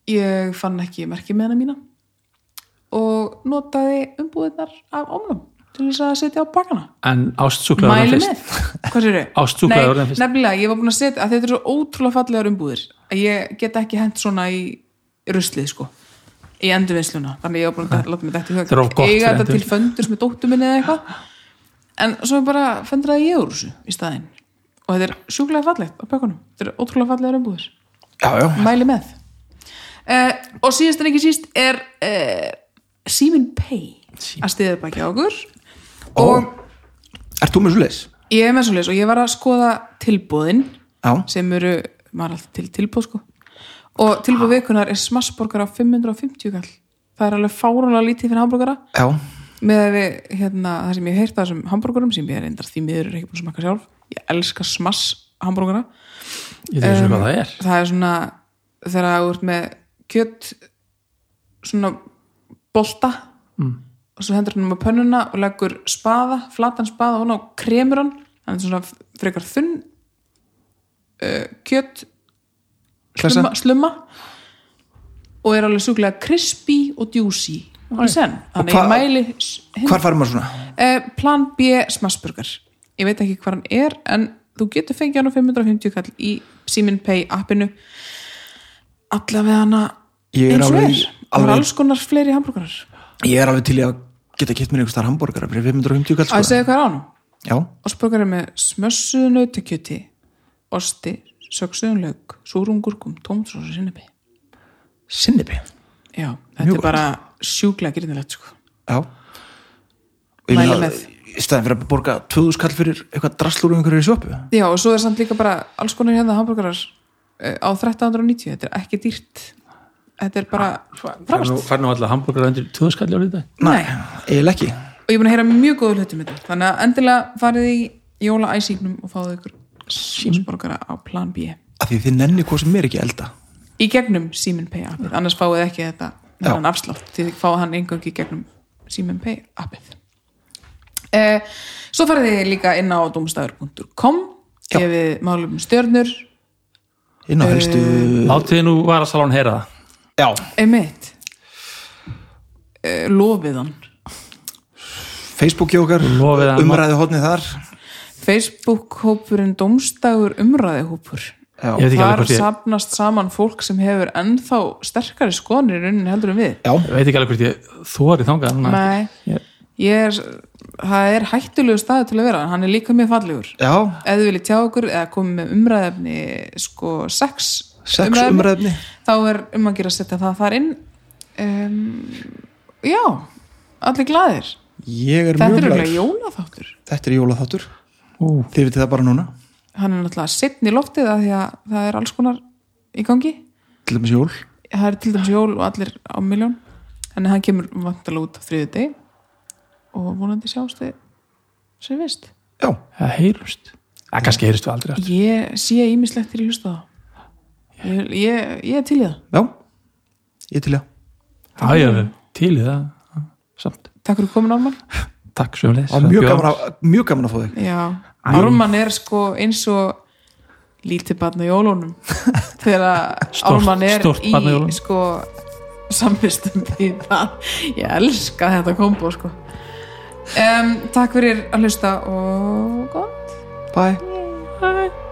[SPEAKER 2] ég fann ekki merki með hana mína og notaði umbúðirnar af omnum til þess að setja á bakana
[SPEAKER 3] en ástsúklaður
[SPEAKER 2] Mæli
[SPEAKER 3] fyrst
[SPEAKER 2] með, hvað sér þau?
[SPEAKER 3] Ástsúklaður orðin fyrst.
[SPEAKER 2] Nefnilega, ég var búin að setja að þetta eru svo ótrúlega fallegar umbúðir að ég get ekki hent svona í ruslið sko í endurvinnsluna, þannig ég var búin að láta mig þetta í hug
[SPEAKER 3] Þetta er of gott
[SPEAKER 2] eiga
[SPEAKER 3] fyrir
[SPEAKER 2] þetta til
[SPEAKER 3] endurvinnslu.
[SPEAKER 2] föndur sem er dóttu minni eða eitthvað en svo bara föndraði ég úr þessu í staðinn og þetta er sjúklega fallegt á pökkunum, þetta eru ótrúlega fallegar umbúðir
[SPEAKER 1] já, já,
[SPEAKER 2] mæli með uh, og síðast en ekki síst er uh, Simin Pay
[SPEAKER 3] Síminn.
[SPEAKER 2] að stiða baki á okkur
[SPEAKER 1] Ó.
[SPEAKER 2] og
[SPEAKER 1] ert þú með svo leis?
[SPEAKER 2] Ég er með svoleiðis og ég var að skoða tilbúðin
[SPEAKER 1] já,
[SPEAKER 2] sem eru, maður er alltaf til tilbúð sko og tilbúð vikunar er smassborgar á 550 kall það er alveg fáránlega lítið fyrir hambúrgara
[SPEAKER 1] já,
[SPEAKER 2] með að við, hérna, það sem ég hef heyrt af þessum hambúrgarum sem ég er endar því miður er ekki búin að smakka sjálf ég elska smass hambúrgara
[SPEAKER 3] ég veit
[SPEAKER 2] Um,
[SPEAKER 3] ekki hvað það er
[SPEAKER 2] það er svona þegar þú ert með kjött svona bolta mm. og svo hendur hann um að pönnuna og leggur spaða, flatan spaða og ná kremur hann, hann er svona frekar þunn uh, kjött
[SPEAKER 1] Klessa.
[SPEAKER 2] slumma, slumma og er alveg súklega crispy og juicy í senn, þannig
[SPEAKER 1] hva-
[SPEAKER 2] ég mæli s- hinn-
[SPEAKER 1] hvar fær maður svona?
[SPEAKER 2] Eh, plan B smassburger ég veit ekki hvað hann er en þú getur fengið hann á 550 kall í Simin Pay appinu allavega hana
[SPEAKER 1] Ég er
[SPEAKER 2] eins og
[SPEAKER 1] alveg-
[SPEAKER 2] er Það eru
[SPEAKER 1] alveg-
[SPEAKER 2] alls konar fleiri hambúrgarar
[SPEAKER 1] ég er alveg til í að geta kipt mér einhverstaðar hambúrgara fyrir 550 kall
[SPEAKER 2] að ég
[SPEAKER 1] sko.
[SPEAKER 2] segja hvað er á hann
[SPEAKER 1] já,
[SPEAKER 2] Osburgar er með smössuðu nautakjöti osti, söksuðun lauk súrungurkum, tómsós og sinnebi
[SPEAKER 1] sinnibi
[SPEAKER 2] já, þetta
[SPEAKER 1] Mjög
[SPEAKER 2] er bara sjúklega gyrnilegt sko
[SPEAKER 1] já og ég
[SPEAKER 2] Mæli
[SPEAKER 1] meina,
[SPEAKER 2] með.
[SPEAKER 1] í staðin fyrir að borga 2000 kall fyrir eitthvað draslur um einhverju í sjöpu
[SPEAKER 2] já, og svo er samt líka bara alls konar hérna hambúrgarar eh, á 1390, þetta er ekki dýrt þetta er bara
[SPEAKER 3] fær nú- fær nú alltaf hambúrgar undir tjóðskalli árið í dag
[SPEAKER 1] nei, eiginlega ekki
[SPEAKER 2] og ég er búin að heyra mjög góðu hlutum með þetta þannig að endilega farið í jóla æsíknum og fáðu ykkur símsborgara á plan B
[SPEAKER 1] af því þið nenni hvað sem er ekki að elda
[SPEAKER 2] í gegnum Simin Pay appið, annars fáið þið ekki þetta
[SPEAKER 1] Já.
[SPEAKER 2] þannig afslátt, því þið fáið hann einhverjum í gegnum Simin Pay appið eh, svo farið þið líka inn á domstafur.com
[SPEAKER 1] Já.
[SPEAKER 2] gefið málum stjörnur
[SPEAKER 1] inn á helstu
[SPEAKER 3] látið nú varasalón heyra það
[SPEAKER 1] já,
[SPEAKER 2] emitt eh, lofið hann
[SPEAKER 1] Facebook hjá okkar
[SPEAKER 3] Lofið að-
[SPEAKER 1] umræðu hodni þar
[SPEAKER 2] Facebook hópurinn domstafur umræði hópur
[SPEAKER 3] Ég
[SPEAKER 1] já,
[SPEAKER 3] veit ekki alveg
[SPEAKER 2] Þar
[SPEAKER 3] hvort ég-
[SPEAKER 2] sapnast saman fólk sem hefur ennþá sterkari skonir raunin heldur en við.
[SPEAKER 1] já,
[SPEAKER 3] ég veit ekki alveg hvort ég þóri þangað núna.
[SPEAKER 2] Nei,
[SPEAKER 3] Ég-
[SPEAKER 2] ég er, það er hættulegu staði til að vera, en hann er líka mjög fallegur.
[SPEAKER 1] já
[SPEAKER 2] Ef þið viljið tjá okkur eða komið með umræðefni, sko, sex,
[SPEAKER 1] Sex umræðuefni.
[SPEAKER 2] þá er um að gera að setja það þar inn. Um, já, allir glaðir.
[SPEAKER 1] ég er mjög
[SPEAKER 2] Þetta er
[SPEAKER 1] glæður
[SPEAKER 2] auðvitað jólaþáttur.
[SPEAKER 1] þetta er jólaþáttur,
[SPEAKER 3] Ú,
[SPEAKER 1] þið vitið það bara núna
[SPEAKER 2] Hann er náttúrulega setn í loftið að því að það er alls konar í gangi.
[SPEAKER 1] til dæmis jól
[SPEAKER 2] það er til dæmis jól og allir á miljón þannig að hann kemur vantala út á þriðu deg og vonandi sjást þið sem vist
[SPEAKER 1] já,
[SPEAKER 3] það heyrumst það kannski heyrumst við aldrei aftur.
[SPEAKER 2] ég sé ímislegt til í hlusta það ég, ég, ég er til í það
[SPEAKER 1] já, ég til ég
[SPEAKER 3] já ég er alveg til í það samt,
[SPEAKER 2] takk fyrir komin Ármann
[SPEAKER 3] takk svo leys
[SPEAKER 1] og mjög gaman, að, mjög gaman að fá þig
[SPEAKER 2] Já, Ármann er sko eins og lítið barn á jólunum þegar að
[SPEAKER 3] Stórt-
[SPEAKER 2] Ármann er
[SPEAKER 3] stórt
[SPEAKER 2] í
[SPEAKER 3] barn á jólunum.
[SPEAKER 2] sko samvistundi ég elska þetta kombo sko um, takk fyrir að hlusta og gott
[SPEAKER 1] bye
[SPEAKER 2] Bye.